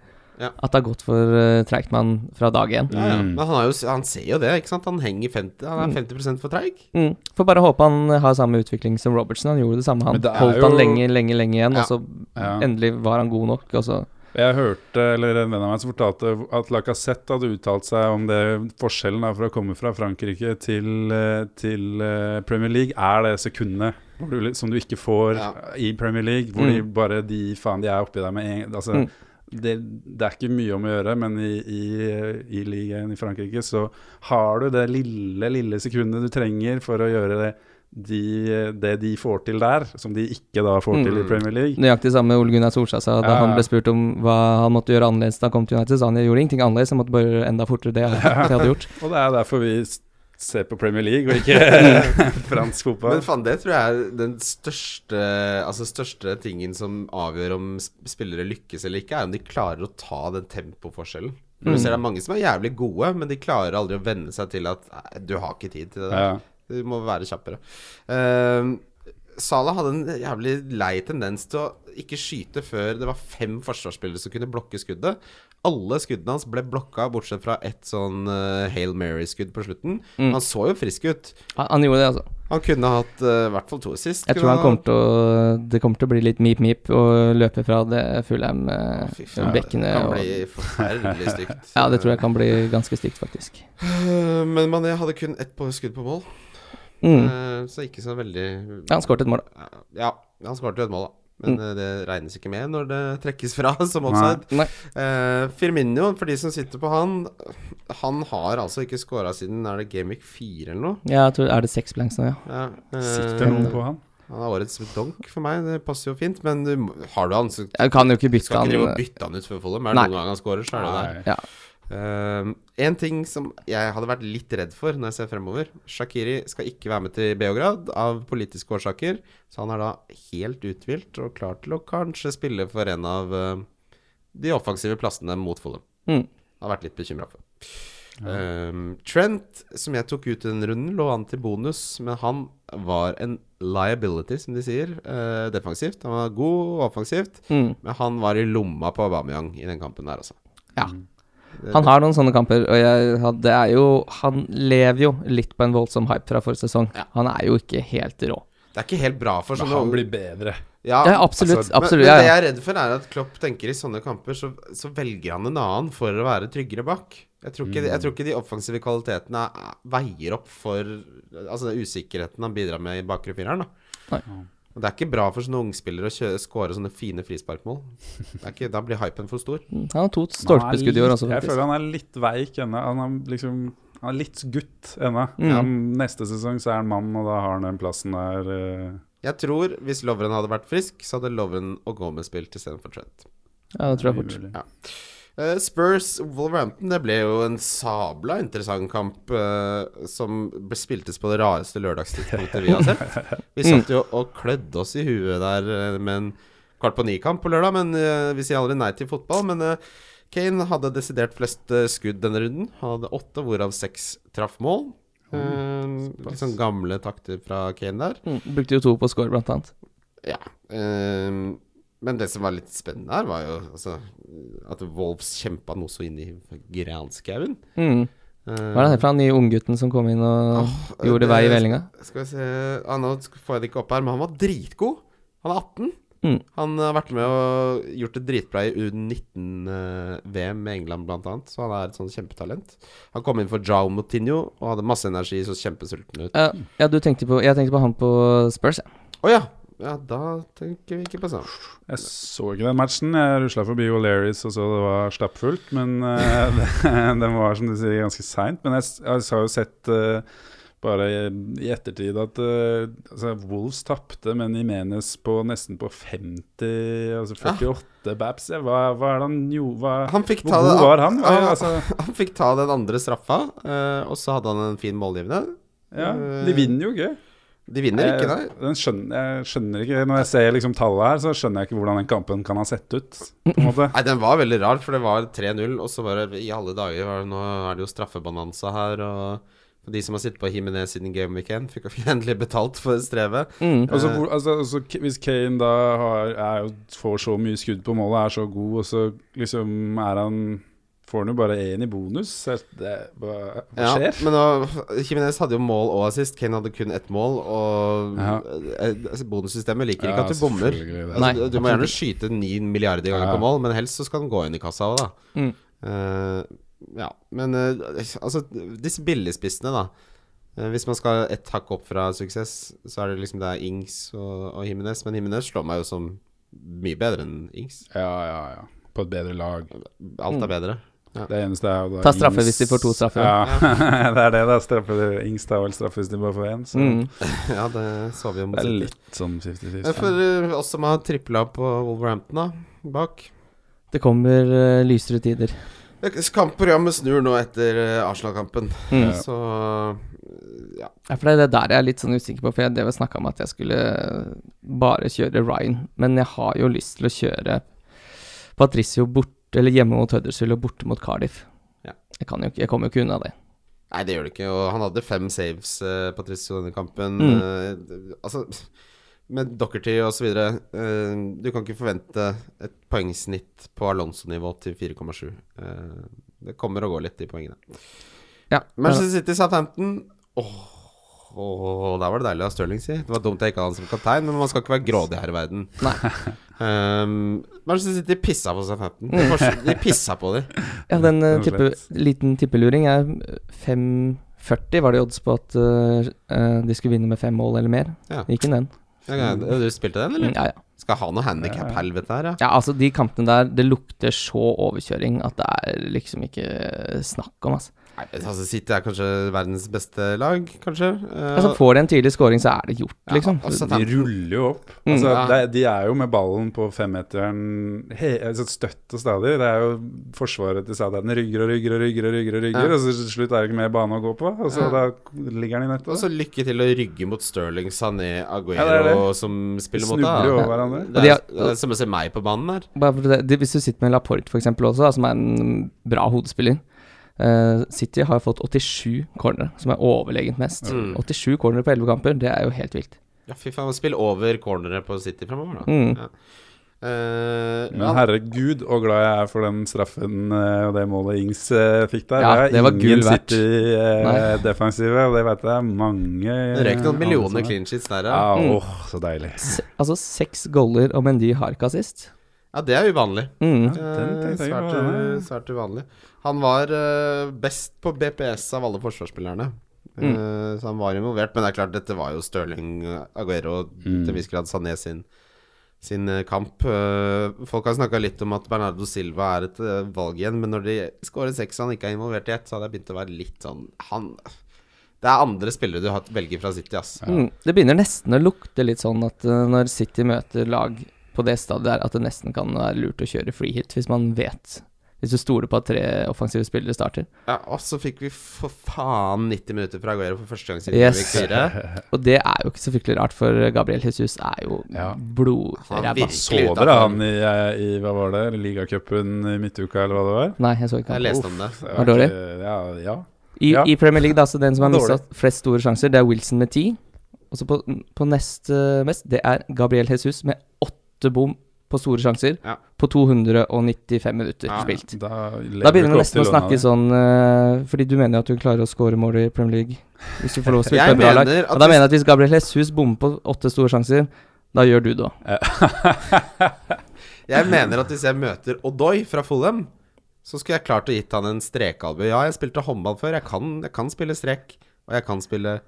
Ja.
at det har gått for uh, treigt med han fra dag én.
Ja, ja.
Mm.
Men han, har jo, han ser jo det, ikke sant? Han henger 50 Han er 50 for treig.
Mm. Får bare håpe han har samme utvikling som Robertson. Han gjorde det samme, han.
Men det er
Holdt han
jo-
lenge, lenge, lenge igjen,
Ja.
og så
Ja.
endelig var han god nok, og så
Jeg hørte, eller en venn av meg som fortalte at Lacassette hadde uttalt seg om det forskjellen da, for å komme fra Frankrike til, eh, til eh, Premier League, er det sekundet hvor du, som du ikke får
Ja.
i Premier League, hvor de bare de faen de er oppi der med en altså,
Mm.
det, det er ikke mye om å gjøre, men i, i, eh, i ligaen i Frankrike så har du det lille, lille sekundet du trenger for å gjøre det de, det de får til der, som de ikke da får
Mm.
til i Premier League.
Nøyaktig samme Ole Gunnar Solskjær sa da
Ja, ja.
han ble spurt om hva han måtte gjøre annerledes da han kom til United. Så han jeg gjorde ingenting annerledes, jeg måtte bare gjøre enda fortere det jeg hadde, det jeg hadde gjort.
Og det er derfor vi s- ser på Premier League og ikke fransk fotball.
Men faen, det tror jeg er den største Altså største tingen som avgjør om sp- spillere lykkes eller ikke, er om de klarer å ta den tempoforskjellen. For Du ser det er mange som er jævlig gode, men de klarer aldri å venne seg til at "Nei, du har ikke tid til det der.
Ja.
Du må være kjappere. Ehm, Salah hadde en jævlig lei tendens til å ikke skyte før det var fem forsvarsspillere som kunne blokke skuddet. Alle skuddene hans ble blokka, bortsett fra ett sånn eh, Hail Mary-skudd på slutten.
Mm.
Han så jo frisk ut.
Han, Hmm. han gjorde det, altså.
Han kunne hatt eh, i hvert fall to sist.
Jeg tror han kommer til å Det kommer til å bli litt mip-mip og løpe fra det
Fy faen,
Fulham-bekkene.
Det kan
og
bli forferdelig stygt.
ja, det tror jeg kan bli ganske stygt, faktisk.
Eh, Men Mané hadde kun ett på skudd på mål,
Mm.
eh, så ikke så veldig
Ja, Mm. han skåret et mål, da.
Ja, han skåret jo et mål, da. Men eh, det regnes ikke med når det trekkes fra som offside.
Nei.
Eh, Firmino, for de som sitter på han Han har altså ikke scora siden er det Gamic 4 eller noe.
Ja, jeg tror, er det seks blanks nå, ja?
Ja, eh,
Sitter noen på han?
Han er årets donk for meg, det passer jo fint. Men du, må- har du han, så skal
Jeg kan jo ikke bytte
ikke drive og
han.
bytte han ut før Follum. Er det
Nei.
noen gang han scorer, så er det der.
Nei.
Ja.
Ehm, en ting som jeg hadde vært litt redd for når jeg ser fremover Shakiri skal ikke være med til Beograd av politiske årsaker. Så han er da helt uthvilt og klar til å kanskje spille for en av eh, de offensive plassene mot Follum.
Mm.
Har vært litt bekymra for. Ehm, Trent, som jeg tok ut i den runden, lå an til bonus, men han var en liability, som de sier, eh, defensivt. Han var god offensivt,
Mm.
men han var i lomma på Aubameyang i den kampen der, altså.
Ja. Han har noen sånne kamper, og jeg, had- det er jo Han lever jo litt på en voldsom hype fra forrige sesong.
Ja.
Han er jo ikke helt rå.
Det er ikke helt bra for sånne
Men han blir bedre.
Ja,
Ja, absolutt.
altså,
absolutt
men,
ja,
men det
ja.
jeg er redd for, er at Klopp tenker i sånne kamper så, så velger han en annen for å være tryggere bak. Jeg tror ikke, jeg tror ikke de offensive kvalitetene er- veier opp for Altså den usikkerheten han bidrar med i bakre fireren. da.
Nei.
Og Det er ikke bra for sånne ungspillere å kjø- score sånne fine frisparkmål. Det er ikke, da blir hypen for stor.
Mm, Han har to stolpeskudd i år også,
Jeg
faktisk.
føler han er litt veik ennå. Han er liksom han er litt gutt ennå.
Mm.
Han- Neste sesong så er han mann, og da har han den plassen der. eh,
Jeg tror hvis Lovren hadde vært frisk, så hadde Lovren og Gomez spilt istedenfor Trent.
Ja, det tror jeg fort.
mulig.
Eh, Spurs Wolverhampton, det ble jo en sabla interessant kamp eh, som ble spiltes på det rareste lørdagstidspunktet vi har sett. Vi satt jo og klødde oss i huet der eh, med en kvart på ni-kamp på lørdag, men eh, vi sier aldri nei til fotball. Men eh, Kane hadde desidert flest eh, skudd denne runden. Han hadde åtte, hvorav seks traff mål. Eh, litt sånn gamle takter fra Kane der.
Mm, brukte jo to på score, blant annet.
Ja. ehm, men det som var litt spennende her, var jo altså, at Wolves kjempa noe så inn i granskauen.
Mm.
Eh,
Hva er det her for han nye unggutten som kom inn og
Åh,
gjorde
det-
vei i vellinga?
Ehm, Skal vi se ah, Nå sk- får jeg det ikke opp her, men han var dritgod. Han er 18.
Mm.
Han eh, har vært med og gjort det dritbra i U19-VM med England, blant annet. Så han er et sånn kjempetalent. Han kom inn for Jao Moutinho og hadde masse energi, så kjempesulten ut. Å
Ja, ja, du tenkte på Jeg tenkte på han på Spurs, jeg.
ja. ja! Da tenker vi ikke på sånn.
Jeg så ikke den matchen. Jeg rusla forbi O'Learys og så det var stappfullt. Men eh, det- den var, som du sier, ganske seint. Men jeg, s- jeg har jo sett eh, bare i, i ettertid at eh, altså, Wolves tapte, men Imenes på nesten på 50 Altså 48 babs. Jeg, hva, hva er det han gjorde hva,
Han fikk
Hvor
ta det
god var han?
Ja, ja.
altså,
Han fikk ta den andre straffa, eh, og så hadde han en fin målgivende.
ja, de vinner jo ikke.
De vinner ikke, nei.
Jeg, den skjønner, jeg skjønner ikke Når jeg ser liksom tallet her, så skjønner jeg ikke hvordan den kampen kan ha sett ut. På en måte
Nei, den var veldig rar, for det var 3-0, og så bare I alle dager, var det, nå er det jo straffebonanza her, og for de som har sittet på Himinez siden Game Weekend, fikk jo endelig betalt for strevet.
Mm.
Altså, hvor, altså, altså, K- hvis Kane da har, er, jo- får så mye skudd på målet, er så god, og så liksom er han Får han jo bare én i bonus? Er Det, hva, hva
Ja,
skjer?
men nå, Jimenez hadde jo mål og assist. Kane hadde kun ett mål. Og
Ja.
eh, altså, bonussystemet liker ikke
Ja,
at du bommer.
selvfølgelig, det er
Altså,
Nei,
du, du må gjerne skyte ni milliarder ganger
Ja.
på mål, men helst så skal den gå inn i kassa òg, da.
Mm.
Eh, ja, men eh, altså Disse billigspissene, da. Eh, hvis man skal ett hakk opp fra suksess, så er det liksom det er Ings og, og Jimenez. Men Jimenez slår meg jo som mye bedre enn Ings.
Ja, ja, ja. På et bedre lag.
Alt er bedre.
Det eneste er jo da
Ta straffe
Ings-
hvis de får to straffer.
Ja, det er det. da straffe Ings tar vel straffe hvis de bare får én. Så
Mm.
ja, det så vi jo mot
det er
City.
litt sånn 50-50.
Men for eh, oss som har tripla på Wolverhampton, da, bak
Det kommer eh, lysere tider.
Kampprogrammet snur nå etter eh, Arsenal-kampen,
Mm.
Ja.
så
Ja, for det er det der jeg er litt sånn usikker på, for jeg drev og snakka om at jeg skulle bare kjøre Ryan, men jeg har jo lyst til å kjøre Patricio bort, eller hjemme mot Huddersfield og borte mot Cardiff.
Ja.
Jeg, kan jo ikke, jeg kommer jo ikke unna det.
Nei, det gjør det ikke. Og han hadde fem saves, eh, Patricio, denne kampen. Eh, altså, med Dockerty og så videre eh, Du kan ikke forvente et poengsnitt på Alonso-nivå til 4,7. Eh, det kommer og går litt, de poengene.
Ja, men,
Manchester City, Southampton. Åh, åh, der var det deilig å ha Stirling, si. Det var dumt jeg ikke hadde han som kaptein, men man skal ikke være grådig her i verden.
Nei.
Um, Manchester City pissa på Southampton. De, fors- de pissa på dem.
ja, den eh,
Rett og
tippe, liten tippeluring er eh, 5,40 var det odds på at eh, eh, de skulle vinne med fem mål eller mer.
Ja.
Gikk inn den.
Ja, Du spilte den, eller?
Mm, ja, ja.
Skal ha noe handikap-helvete her, ja.
Ja, altså, de kampene der, det lukter så overkjøring at det er liksom ikke snakk om, altså.
Nei, men altså City er kanskje verdens beste lag, kanskje. Eh,
altså får de en tidlig scoring, så er det gjort, liksom.
Ja, altså,
De ruller jo opp. Altså,
Mm. Ja.
det, de er jo med ballen på femmeteren he- altså, støtt og stadig. Det er jo forsvaret til Southampton rygger og rygger og rygger, og rygger, og rygger
Ja.
og så til slutt er det ikke mer bane å gå på. Og så
Ja.
da ligger den i nettet.
Og så lykke til å rygge mot Sterling, Sané, Aguero
Ja, det er
som spiller
De
mot deg.
snubler jo
da.
over hverandre.
Det er,
Og de har-
det er som å se meg på banen der.
Bare for det, det, hvis du sitter med Laporte for eksempel også, da, som er en bra hodespiller eh, City har fått 87 corner, som er overlegent mest.
Mm.
87 corner på 11 kamper, det er jo helt vilt.
Ja, fy faen. Spill over corneret på City fremover, da.
Mm.
Ja. Eh,
Men herregud, og glad jeg er for den straffen eh, og det målet Ings eh, fikk der.
Ja, det var gull verdt. Nei.
City-defensive, eh, og det vet jeg mange eh,
det røyk noen
andre som
millioner
er.
clean sheets der, sånn, ja.
Ja,
Mm.
åh, så deilig.
Se, altså seks goller og Mendy har ikke assist.
Ja, det er uvanlig.
Mm.
Ja, den
Eh,
tenkte jeg ikke
svært,
på,
u-
nei.
svært uvanlig. Han var eh, best på BPS av alle forsvarsspillerne. Eh,
Mm.
så han var involvert. Men det er klart, dette var jo Stirling, Aguero,
Mm.
til en viss grad Sané sin, sin eh, kamp. Eh, folk har snakka litt om at Bernardo Silva er et eh, valg igjen, men når de skårer seks og han ikke er involvert i ett, så hadde jeg begynt å være litt sånn Han Det er andre spillere du har- velger fra City, ass.
Mm. Det begynner nesten å lukte litt sånn at eh, når City møter lag på det stadiet der, at det nesten kan være lurt å kjøre free hit hvis man vet Hvis du stoler på at tre offensive spillere starter.
Ja, og så fikk vi for faen 90 minutter fra Aguero for første gang siden
Yes.
vi fikk fire.
Og det er jo ikke så fryktelig rart, for Gabriel Jesus er jo
Ja.
Han
blodræva.
virker
Så
Virkelig
dere
utenfor.
han i, eh, i hva var det, ligacupen i midtuka, eller hva det var?
Nei, jeg så ikke
Jeg
han.
leste om det.
Det
Var dårlig?
ikke- Ja, ja.
I,
Ja.
I Premier League, da, så den som har
Dårlig.
mista flest store sjanser, det er Wilson med ti. Og så på, på nest eh, mest, det er Gabriel Jesus med åtte bom på store sjanser
Ja.
på 295 minutter
Ja.
spilt.
Da, lever
Da begynner
du
vi
ikke
nesten
opp
å
til
snakke
lønna
sånn eh, Fordi du mener jo at du klarer å score mål i Premier League hvis du får lov å spille
Jeg
på et bra lag.
mener at
Og da
hvis-
mener jeg at hvis Gabriel Jesus bommer på åtte store sjanser, da gjør du det òg.
Jeg mener at hvis jeg møter Odoi fra Fulham, så skulle jeg klart å gitt han en strekalbu. Ja, jeg spilte håndball før. Jeg kan, jeg kan spille strek, og jeg kan spille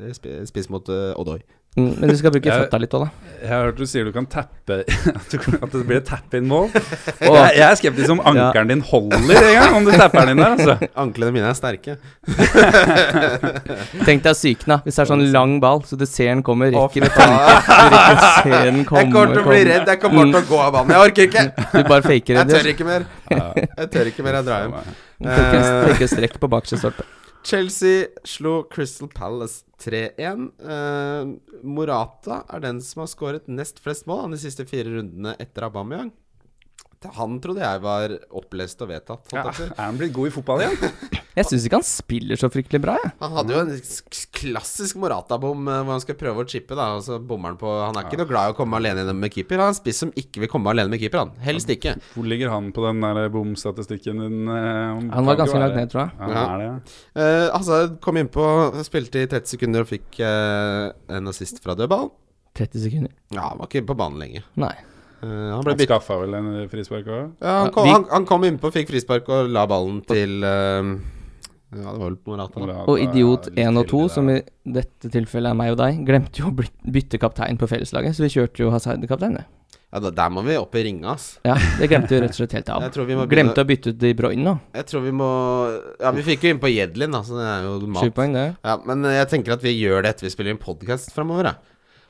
eh, spi- spiss mot eh, Odoi.
Mm, Men du skal bruke
Jeg-
føtta litt òg, da.
Jeg har hørt du sier du kan tappe At, du, kan- at det blir et tap-in-mål.
Åh.
Jeg, jeg er skeptisk om ankelen din holder en gang, om du tapper den inn der. Altså.
Anklene mine er sterke.
Tenk deg psyken, da. Hvis det er sånn lang ball, så du ser den kommer,
Å,
rekker å ta den, rekker å se den komme
jeg kommer til å bli
komme.
redd. Jeg kommer bare til å gå av banen. Jeg orker ikke!
Du bare faker
Jeg
det.
tør ikke mer. Jeg tør ikke mer. Jeg drar hjem.
Tenker,
Eh,
tenker strekk på bakerste stolpe.
Chelsea slo Crystal Palace 3-1. Eh, Morata er den som har skåret nest flest mål han de siste fire rundene etter Aubameyang. Han trodde jeg var opplest og vedtatt. holdt
Ja,
jeg på å si.
er han blitt god i fotball igjen?
Jeg syns ikke han spiller så fryktelig bra, jeg.
Han hadde jo en s- klassisk Morata-bom eh, hvor han skal prøve å chippe, da, og så bommer han på Han er ikke noe glad i å komme alene gjennom med keeper. Han er en spiss som ikke vil komme alene med keeper, han. Helst ikke.
Hvor ligger han på den der bomstatistikken din? eh, om-
Han var
kan ikke
ganske
være-
langt ned, tror jeg.
Ja, han
Ja.
er det, ja.
Eh, Hazard kom innpå, spilte i 30 sekunder og fikk eh, en assist fra dødball.
30 sekunder.
Ja, han var ikke på banen lenge.
Nei.
Eh, han ble
Han
bytt.
skaffa vel en frispark òg?
Ja, han,
Ja,
kom,
vi-
han, han kom innpå, fikk frispark og la ballen til eh, Ja, det var vel Morata. da.
Og idiot
eh,
1 og 2, som i dette tilfellet er meg og deg, glemte jo å bli- bytte kaptein på felleslaget, så vi kjørte jo Hazard kaptein, det.
Ja, da, der må vi opp i ringa, ass.
Ja, det glemte vi rett og slett helt av.
Jeg tror vi må begynne-
Glemte å bytte ut De Bruyne nå.
Jeg tror vi må Ja, vi fikk jo innpå Jedlin, da, så det er jo mat.
Sju poeng, det.
Ja, men eh, jeg tenker at vi gjør det etter vi spiller inn podkast framover.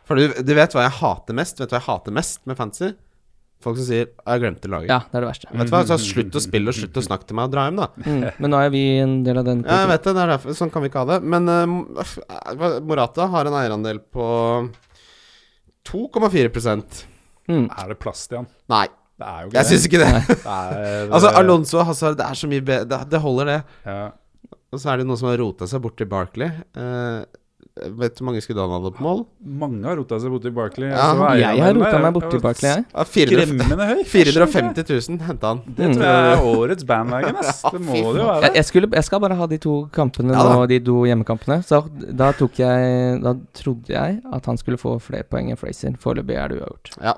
For du, du vet hva jeg hater mest? Vet du hva jeg hater mest med fantasy? Folk som sier 'jeg glemte laget'.
Ja, det er det verste.
Vet du hva, så Slutt å spille, og slutt å snakke til meg, og dra hjem, da.
Mm. Men nå er vi en del av den
Ja, jeg vet det, det er derfor. Sånn kan vi ikke ha det. Men eh, f- eh, Morata har en eierandel på 2,4
Mm.
Er det plass til han?
Nei,
Det er jo ikke
jeg syns ikke det.
Det er-
Altså, Alonso og Hazard, det er så mye bedre. Det, det holder, det.
ja.
Og så er det noen som har rota seg bort til Barkley. Eh, vet du hvor mange skudd han hadde på mål?
Mange har rota seg borti Barkley.
Ja,
altså, eieren
Jeg har
der
rota
er-
meg
er
borti
jo
Barkley, jeg.
Ja, 400
Skremmende høy.
450 000 henta han.
Det tror jeg er
Mm.
årets bandwagon, ass. Det må det jo være.
Jeg, jeg, skulle, jeg skal bare ha de to kampene
Ja da.
nå, de to hjemmekampene. Så da tok jeg Da trodde jeg at han skulle få flere poeng enn Frazier. Foreløpig er det uavgjort.
Ja.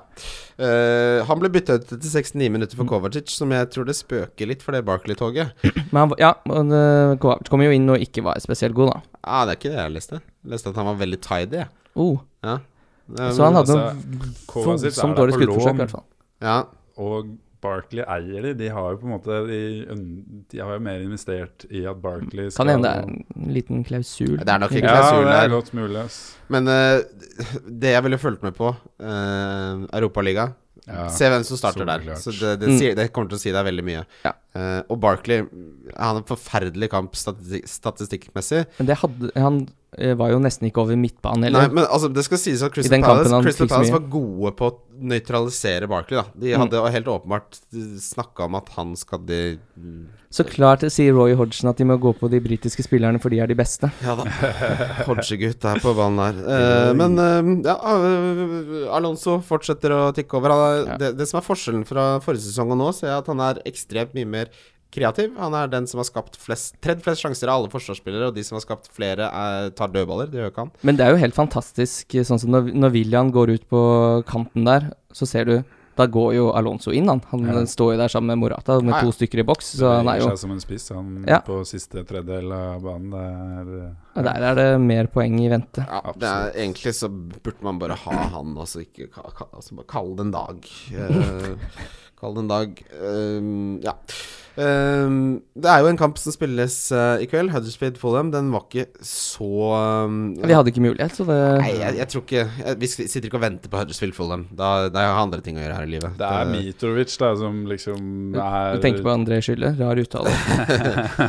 Eh, han ble bytta ut etter 69 minutter for Kovacic, som jeg tror det spøker litt for det Barkley-toget.
Men han, var- ja, men, eh, Kovacic kom jo inn og ikke var spesielt god, da.
Ah, Ja, det er ikke det jeg leste. Jeg leste at han var veldig tidy. jeg.
Oh,
Ja. Eh,
Så han hadde
altså,
noen
Kovacic
som, som
er der
dårlig
på lån.
skuddforsøk, i hvert fall.
ja,
Og Barkley eier de. De har jo på en måte De, øn- de har jo mer investert i at Barkley
Kan hende det er en liten klausul.
Det er nok ikke
Ja,
klausul
det
der.
er godt mulig, ass.
Men eh, det jeg ville fulgt med på, uh, Europaliga
Ja.
Se hvem som starter der.
soleklart.
Så det, det,
Mm.
sier, det kommer til å si deg veldig mye.
Ja.
Eh, og Barkley Han har en forferdelig kamp statistikk, statistikkmessig.
Men det hadde, han eh, var jo nesten ikke over midtbanen
Nei,
heller.
men altså, det skal sies at Crystal
den kampen
Palace,
han
Crystal
fikk så
Palace
mye.
var gode på å nøytralisere Barkley. Da. De
Mm.
hadde helt åpenbart snakka om at han skadde
Så klart sier Roy Hodgson at de må gå på de britiske spillerne, for de er de beste.
Ja da. Hodgegutt er på banen der. Eh, men eh, ja, eh, Alonso fortsetter å tikke over. Han er,
Ja.
det, det som er forskjellen fra forrige sesong og nå, ser jeg at han er ekstremt mye mer kreativ. Han er den som har skapt flest, tredd flest sjanser av alle forsvarsspillere, og de som har skapt flere, er, tar dødballer. Det gjør ikke han.
Men det er jo helt fantastisk, eh, sånn som når, når William går ut på kanten der, så ser du da går jo Alonso inn, han. Han
Ja.
står jo der sammen med Morata med
Ja, ja.
to stykker i boks, så han er
Beveger
jo
seg som en spiss, han
Ja.
på siste tredjedel av banen. Det er
ja, Der er det mer poeng i vente.
Ja, det er, egentlig så burde man bare ha han, og så ikke ka- ka- altså bare kalle det en dag. Eh, kalle det en dag. Ehm, ja. Ehm, det er jo en kamp som spilles eh, i kveld. Huddersfield Fulham. Den var ikke så um,
Vi hadde ikke mulighet, så det
Nei, jeg, jeg tror ikke jeg, Vi sitter ikke og venter på Huddersfield Fulham. Da, da har jeg andre ting å gjøre her i livet.
Det er Mitrovic da, som liksom er
Du tenker på André Skylle, rar uttale.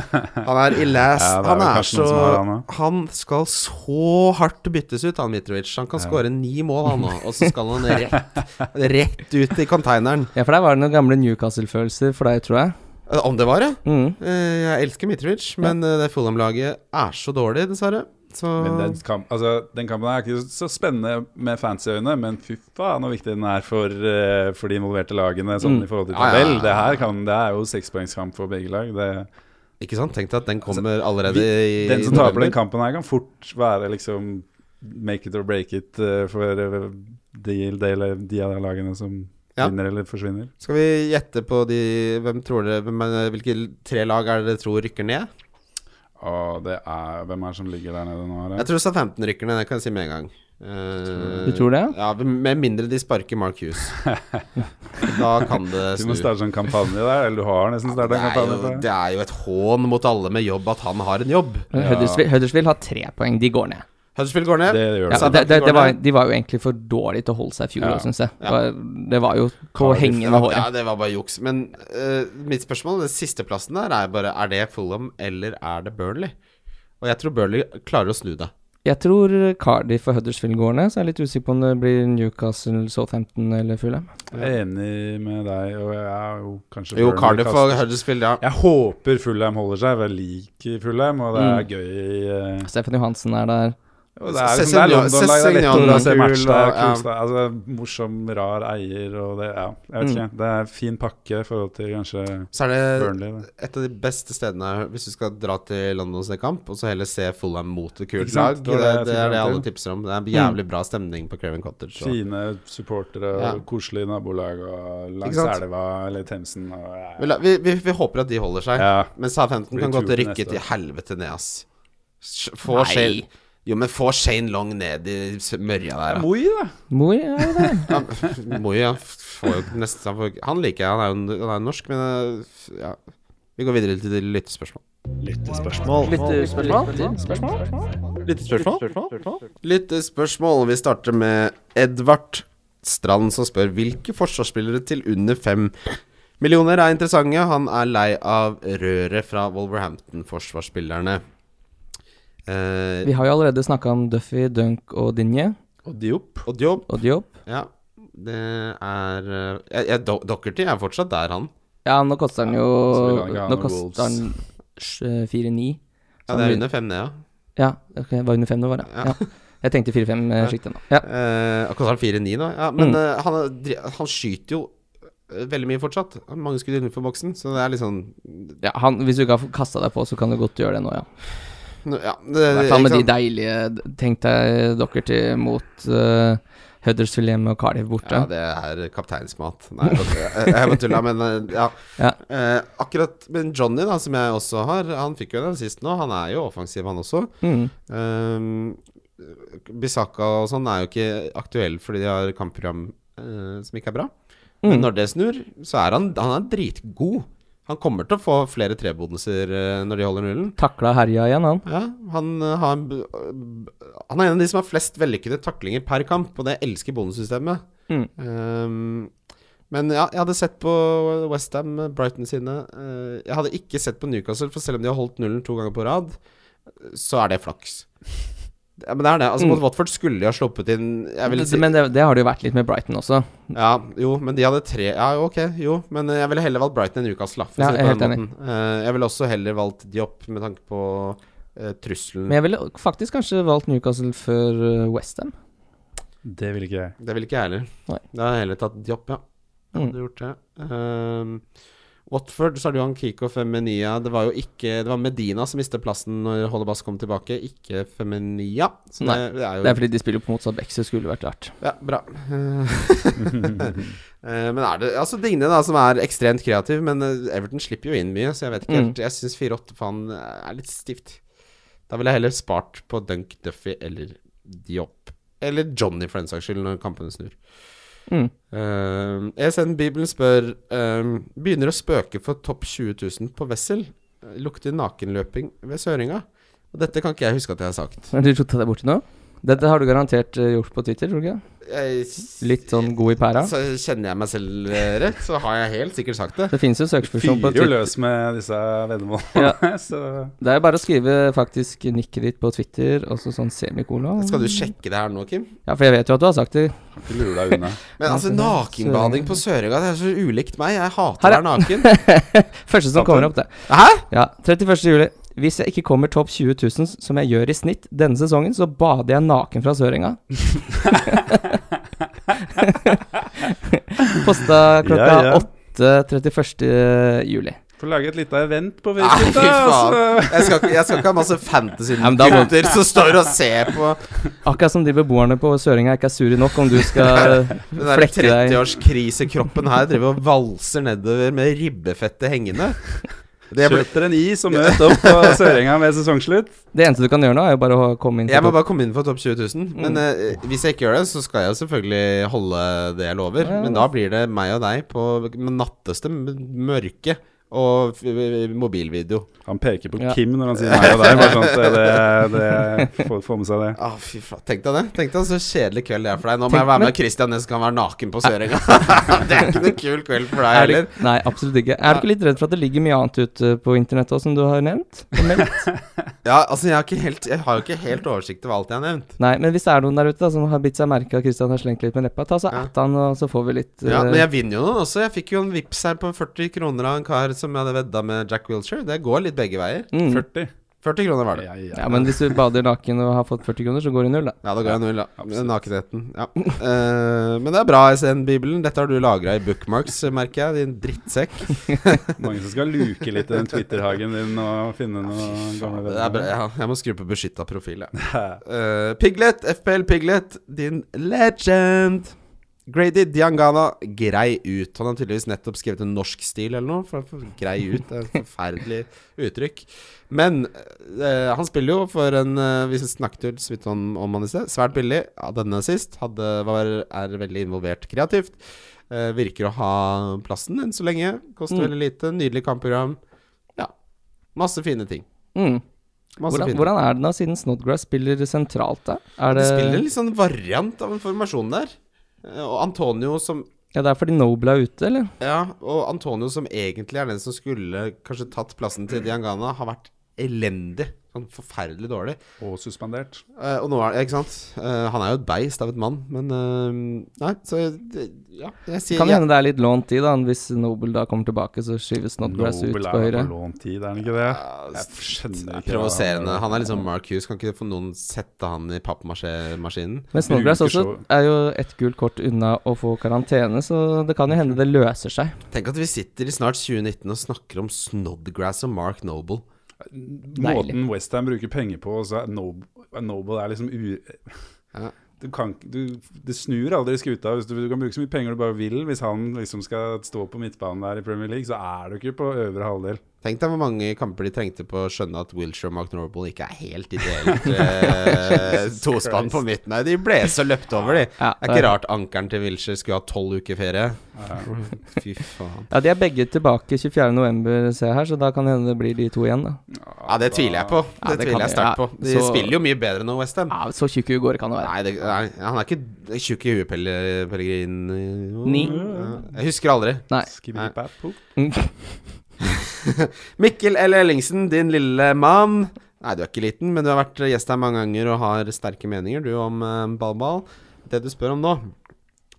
Han er i last.
Ja, det er
han
vel
er
kanskje
så
noen som har han
han,
også.
skal så hardt byttes ut, han Mitrovic. Han kan skåre ni mål, han nå. Og så skal han rett, rett ut i konteineren.
Ja, for der var det noen gamle Newcastle-følelser for deg, tror jeg.
Eh, Om det var det?
Mm.
Eh, Jeg elsker Mitrovic, men eh, det Fulham-laget er så dårlig, dessverre. Så
Men den, kamp, altså, den kampen er ikke så spennende med fancy øyne, men fy faen hvor viktig den er for, eh, for de involverte lagene sånn
Mm.
i forhold til
Ja, ja, ja,
tabell.
ja.
Det her kan, det er jo sekspoengskamp for begge lag. Det,
Ikke sant? Tenk deg at den kommer allerede i
Altså, den som
i
taper den
november.
kampen her, kan fort være liksom make it or break it eh, for eh, de, de, de av de lagene som
Ja.
vinner eller forsvinner.
Skal vi gjette på de hvem tror dere, hvem, er- Hvilke tre lag er det dere tror rykker ned?
Og det er Hvem er det som ligger der nede nå?
Jeg
Her?
tror Southampton rykker ned, det kan jeg si med en gang. Eh,
Du tror det?
Ja, Med mindre de sparker Mark Hughes. da kan det
Du
snu.
må starte en kampanje der, eller du har nesten
Det
starta en
er,
kampanje.
jo,
for det.
det er jo et hån mot alle med jobb at han har en jobb.
Men
Ja.
Huddersfield, Huddersfield har tre poeng, de går ned.
Huddersfield går ned.
Det gjør
Ja,
det.
så
det, det,
går
det var,
ned.
de var jo egentlig for dårlige til å holde seg i fjor
Ja.
òg, syns jeg. Det
Ja.
var, det var jo på
Cardiff,
hengende
Ja,
håret.
det var bare juks. Men eh, mitt spørsmål, den sisteplassen der, er bare Er det Fulham, eller er det Burnley? Og jeg tror Burnley klarer å snu det.
Jeg tror Cardiff og Huddersfield går ned, så jeg er litt usikker på om det blir Newcastle, Southampton eller Fulham.
Jeg er enig med deg, og jeg er jo kanskje
Jo,
Burnley
Cardiff
kaster-
og Huddersfield, ja.
Jeg håper Fulham holder seg, for jeg liker Fulham, og det er
Mm.
gøy eh,
Stefan Johansen er der.
og Det er liksom, det
Cessignon-
er London-lag, det er lett å
Cessignon
dra
er
og se
kul,
match der.
og- ja.
kos deg. Altså, morsom, rar eier og det Ja, jeg
Mm.
vet ikke. Det er fin pakke i forhold til kanskje
Så er det
Burnley. Da.
et av de beste stedene hvis du skal dra til London og se kamp, og så heller se Fulham mot et
Ikke
kult lag.
sant?
Det,
Det var det jeg
det er
tenkte
det alle
til. Mm.
tipser om. Det er jævlig bra stemning på Craven Cottage. Så.
Fine supportere og
Ja.
koselig nabolag og
Ikke
langs
sant?
elva eller Themsen og ja.
Vi, la- vi, vi, vi håper at de holder seg,
Ja.
men Southampton
Blir
kan godt
tur til
rykke
neste
til
år.
helvete ned, ass. Sj- Få Shane Jo, men få Shane Long ned i s- mørja der. da.
Moi, da.
Moi er jo der.
Ja, må jo, ja. Får jo nesten, han, får, han liker jeg, han er jo han er jo norsk, men eh, ja. Vi går videre til lyttespørsmål.
eh,
Lyttespørsmål? Vi starter med Edvard Strand som spør hvilke forsvarsspillere til under fem millioner er interessante. Han er lei av røret fra Wolverhampton-forsvarsspillerne. Eh,
Vi har jo allerede snakka om Duffy, Dunk og Dinje
Og Diop.
og Diop.
og Diop.
Ja, det er eh, jeg, jeg, Do- Doherty er fortsatt der, han.
Ja, nå koster han jo
så vil han ikke ha
Nå
noen
koster han sj- 4-9.
Ja, det er under fem ned, ja.
Ja, ok, var under 5 nå, var det.
Ja.
Ja. Jeg tenkte 4-5-sjiktet nå. Ja.
Eh, Akkurat han 4-9 nå. Ja, men eh, han, er dri- han skyter jo eh, veldig mye fortsatt. Han har Mange skudd innenfor boksen, så det er litt sånn
Ja, han, hvis du ikke har kasta deg på, så kan du godt gjøre det nå, ja.
nå- Ja, det,
I hvert
Eh,
fall
ikke
med de
sant?
deilige Tenk deg dere til mot eh, Huddersfield hjemme og Cardiff borte.
ja, det er kapteinsmat. Nei, jeg jeg bare tulla, men eh, ja.
Ja.
Eh, akkurat Men Johnny, da, som jeg også har, han fikk jo en assist nå. Han er jo offensiv, han også.
Mm.
Um, Bisaka og sånn er jo ikke aktuell fordi de har kampprogram eh, som ikke er bra.
Mm.
Men når det snur, så er han, han er dritgod. Han kommer til å få flere trebonuser eh, når de holder nullen.
Takla herja igjen, han.
Ja, han, eh, har, en b- b- han er en av de som har flest vellykkede taklinger per kamp, og det elsker bonussystemet.
Mm.
Ehm, men ja, jeg hadde sett på Westham, Brighton sine. Eh, jeg hadde ikke sett på Newcastle, for selv om de har holdt nullen to ganger på rad, så er det flaks. Ja, men det er det. Altså,
Mm.
Mot Watford skulle de ha sluppet inn jeg vil si,
Men det, det har det jo vært litt med Brighton også.
ja, jo, men de hadde tre Ja, ok, jo, men eh, jeg ville heller valgt Brighton enn Newcastle. da, for å
Ja,
si det
jeg
på
er
den
helt
måten. Eh, jeg ville også heller valgt Diop med tanke på eh, trusselen.
Men jeg ville faktisk kanskje valgt Newcastle før eh, Westham.
Det vil ikke jeg.
Det vil ikke jeg heller.
Nei. Mm.
Da har jeg heller tatt Diop, ja. Jeg Hadde gjort det. Ehm, Watford, så har du han Kiko Feminia. Det var jo ikke Det var Medina som mistet plassen når Holebas kom tilbake, ikke Feminia. Så
Nei,
det, det er jo
Det er fordi de spiller på motsatt bekk, så det skulle vært rart.
Ja, bra. Eh, men er det Altså Digne, da, som er ekstremt kreativ, men eh, Everton slipper jo inn mye, så jeg vet ikke
Mm.
helt Jeg syns 4-8 for han eh, er litt stivt. Da ville jeg heller spart på Dunk Duffy eller Diop. Eller Johnny, for den saks skyld, når kampene snur.
Mm.
Uh, ESN Bibelen spør ehm, Begynner å spøke for topp 20 000 på Wessel. Lukter nakenløping ved Søringa. Og dette kan ikke jeg huske at jeg har sagt.
Men Du rota deg borti nå? Dette har du garantert eh, gjort på Twitter, tror du ikke?
Jeg,
Litt sånn god i pæra.
Så kjenner jeg meg selv eh, rett, så har jeg helt sikkert sagt det.
Det finnes jo søkefunksjon på
Fyrer jo
Twitter.
løs med disse
Ja.
veddemålene, så
Det er jo bare å skrive faktisk nikket ditt på Twitter, og så sånn semikolon.
Skal du sjekke det her nå, Kim?
Ja, for jeg vet jo at du har sagt det.
kan ikke lure deg unna.
Men altså, nakenbading på Sørøya, det er så ulikt meg. Jeg hater å
Her
være naken.
Første som
Sant
kommer
det.
opp, det.
Hæ?
Ja, 31. juli. Hvis jeg ikke kommer topp 20 000, som jeg gjør i snitt denne sesongen, så bader jeg naken fra Sørenga. Posta klokka
Ja, ja.
8 31. juli.
Får lage et lite event på
Nei, fy
Facebook, da.
faen.
altså.
Jeg skal, ikke- jeg skal ikke ha masse
Ja, men da må-
fantasy-gutter som står og ser på
Akkurat som de beboerne på Sørenga ikke er sure nok om du skal
den der
flekke deg
30-årskrisekroppen her. Driver og valser nedover med ribbefettet hengende. Det ble,
Kjøp dere en is og møt opp på Sørenga ved sesongslutt.
Det eneste du kan gjøre nå, er jo bare å komme inn på
jeg må
topp.
bare komme inn for topp 20 000.
Mm.
Men eh, hvis jeg ikke gjør det, så skal jeg jo selvfølgelig holde det jeg lover.
Ja, ja.
Men da blir det meg og deg på natteste mørke og f- mobilvideo.
Han peker på
Ja.
Kim når han sier meg og deg. Bare sånn at det, det, det får, får med seg det.
Ah, fy faen, Tenk deg det. Tenk deg så kjedelig kveld det er for deg. Nå må
Tenk
jeg være
meg-
med Christian Næss, kan være naken på Sørenga. det er ikke noe kul kveld for deg
Er du,
heller.
nei, absolutt ikke. Er du ikke litt redd for at det ligger mye annet ute på internett også, som du har nevnt? Og meldt?
Ja, altså, jeg har, ikke helt, jeg har jo ikke helt oversikt over alt jeg har nevnt.
Nei, men hvis det er noen der ute da, som har bitt seg merke at Kristian har slengt litt med leppa, ta så
Ja.
at han, og så får vi litt
Ja,
eh,
men jeg vinner jo noen også. Jeg fikk jo en vips her på 40 kroner av en kar som jeg hadde vedda med Jack Wilshere. Det går litt begge veier.
mm.
40.
40 kroner var det.
Ja,
Ja, men hvis du bader naken og har fått 40 kroner, så går det null, da.
Ja, da går jeg null, da.
absolutt.
Nakenheten. Ja. Eh, men det er bra, SN-bibelen. Dette har du lagra i bookmarks, merker jeg. Din drittsekk.
Mange som skal luke litt i den Twitter-hagen din og finne
Sånn
noen gamle
Det er bra. Ja, jeg må skru på beskytta profil, jeg. Eh, Piglet, FPL Piglet, din legend. Grady Diangana, grei ut. Han har tydeligvis nettopp skrevet en norsk stil eller noe. For for grei ut det er et forferdelig uttrykk. Men eh, han spiller jo for en eh, Vi snakket jo så vidt om, om han i sted. Svært billig. Ja, denne sist. Hadde, var, er veldig involvert kreativt. Eh, virker å ha plassen enn så lenge. Koster
Mm.
veldig lite. Nydelig kampprogram. Ja. Masse fine ting.
Mm.
Masse
Hvordan,
fine ting.
hvordan er det da, siden Snodgrass spiller sentralt, da? Er
Det
det,
spiller en litt sånn variant av en formasjon der. Eh, Og Antonio som
Ja, det er fordi Noble er ute, eller?
Ja, og Antonio som egentlig er den som skulle kanskje tatt plassen til Diangana, har vært elendig. Sånn forferdelig dårlig.
Og suspendert.
Eh, og nå er det, ikke sant Eh, Han er jo et beist av et mann, men eh, Nei, så det- Ja, jeg sier
Kan
ja.
hende det er litt lånt tid, da. Hvis Noble da kommer tilbake, så skyves Snodgrass ut
Nobel
på
er
høyre.
på lånt tid, er han ikke det? Jeg
Det
skjønner
er
ikke
Provoserende. Han er liksom Mark Hughes. Kan ikke få noen sette han i pappmasjé-maskinen?
Men Snodgrass
Bruker
også er jo ett gult kort unna å få karantene, så det kan jo hende det løser seg.
Tenk at vi sitter i snart 2019 og snakker om Snodgrass og Mark Noble.
Måten Westham bruker penger på, så er Nob- Noble er liksom u...
Ja.
Du kan, ikke- du, det snur aldri skuta. Hvis du, du kan bruke så mye penger du bare vil. Hvis han liksom skal stå på midtbanen der i Premier League, så er du ikke på øvre halvdel.
Tenk deg hvor mange kamper de trengte på å skjønne at Wilshere og McNorble ikke er helt ideelt eh, tospann på midten. Nei, de ble så løpt over, de.
Ja,
Det er ikke rart ankelen til Wilshere skulle ha tolv uker ferie. Fy faen.
Ja, De er begge tilbake 24.11, ser jeg her, så da kan det hende det blir de to igjen. da
Ja, det tviler jeg på. Det
Ja, det kan
tviler jeg
de-
sterkt
ja,
på. De
så-
spiller jo mye bedre enn Westham.
Ja, Så tjukke går det kan det være.
Nei, det, nei, han er ikke tjukk i huet, Pelle- Pellegrin.
Ni.
Ja, Jeg husker aldri.
Nei.
Skibidi-bap-boop.
Mikkel L. Ellingsen, din lille mann. Nei, du er ikke liten, men du har vært gjest her mange ganger og har sterke meninger, du, om eh, ballball. Det du spør om nå,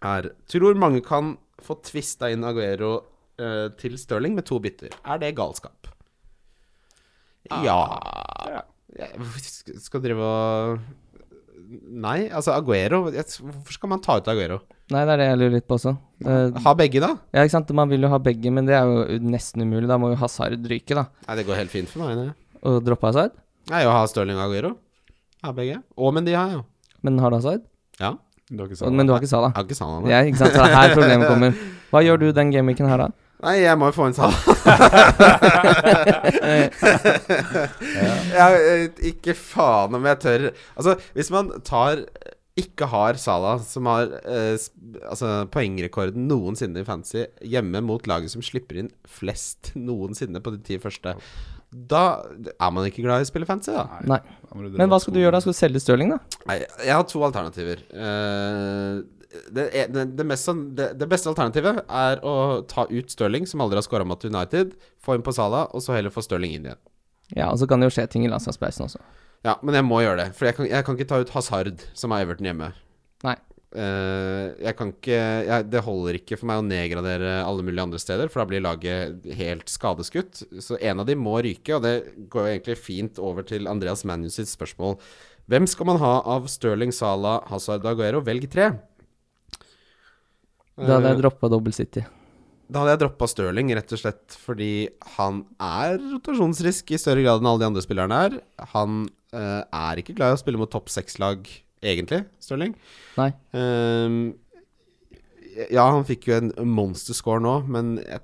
er Tror mange kan få tvista inn Aguero eh, til Stirling med to bytter. Er det galskap? Ah. Ja Jeg- Skal skal drive og Nei, altså Aguero jeg- Hvorfor skal man ta ut Aguero?
Nei, det er det jeg lurer litt på også. Eh,
Ha begge, da?
ja, ikke sant? Man vil jo ha begge, men det er jo nesten umulig. Da må jo Hazard ryke, da.
Nei, det går helt fint for meg. Det.
Og droppe Hazard.
Nei, å ha Stirling og Aguero. Ha begge. Og Mendy har jeg jo.
Men har du Hazard?
Ja.
Du har ikke
Og,
sagt
men
det.
du har ikke Salah.
Jeg har ikke Salah nå.
Ja, ikke sant? Det er her problemet kommer. Hva gjør du den gameweeken her, da?
Nei, jeg må jo få en Salah. jeg, eh, ikke faen om jeg tør. Altså, hvis man tar ikke har Salah, som har eh, s- altså, poengrekorden noensinne i fantasy, hjemme mot laget som slipper inn flest noensinne på de ti første, da er man ikke glad i å spille fantasy, da.
Nei.
Da må
Men hva skal du gjøre da? Skal du selge Stirling, da?
Nei, jeg har to alternativer. Eh, det, er- det, det, mest, sånn- det, det beste alternativet er å ta ut Stirling, som aldri har scora mot United, få inn på Salah, og så heller få Stirling inn igjen.
Ja, og så kan det jo skje ting i landslagspausen også.
Ja, men jeg må gjøre det, for jeg kan, jeg kan ikke ta ut Hazard, som er Everton hjemme.
Nei.
Eh, jeg kan ikke jeg, Det holder ikke for meg å nedgradere alle mulige andre steder, for da blir laget helt skadeskutt. Så en av de må ryke, og det går jo egentlig fint over til Andreas Manus sitt spørsmål. Hvem skal man ha av Stirling, Salah, Hazard og Aguero? Velg tre.
Da hadde
Eh,
jeg droppa Double City.
da hadde jeg droppa Stirling, rett og slett fordi han er rotasjonsrisk i større grad enn alle de andre spillerne er. Han eh, er ikke glad i å spille mot topp seks-lag, egentlig, Stirling.
Nei.
Ehm, ja, han fikk jo en monsterscore nå, men jeg,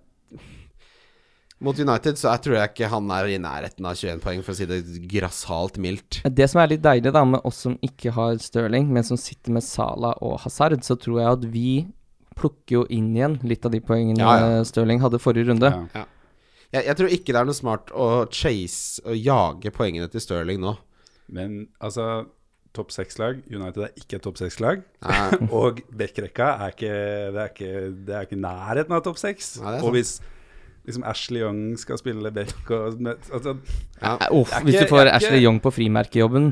mot United så jeg tror jeg ikke han er i nærheten av 21 poeng, for å si det grassat mildt.
Det som er litt deilig da med oss som ikke har Stirling, men som sitter med Salah og Hazard, så tror jeg at vi plukker jo inn igjen litt av de poengene
Ja, ja.
Stirling hadde forrige runde.
Ja.
Jeg, jeg tror ikke det er noe smart å chase og jage poengene til Stirling nå.
Men altså, topp seks-lag United er ikke et topp seks-lag.
Nei.
Og backrekka er ikke Det er ikke, det er ikke nærheten av topp seks.
Nei, det er sant.
Og hvis liksom Ashley Young skal spille back og altså,
Ja.
Eh, Uff,
Jeg er
hvis
ikke-
du får
jeg er
Ashley
ikke-
Young på frimerkejobben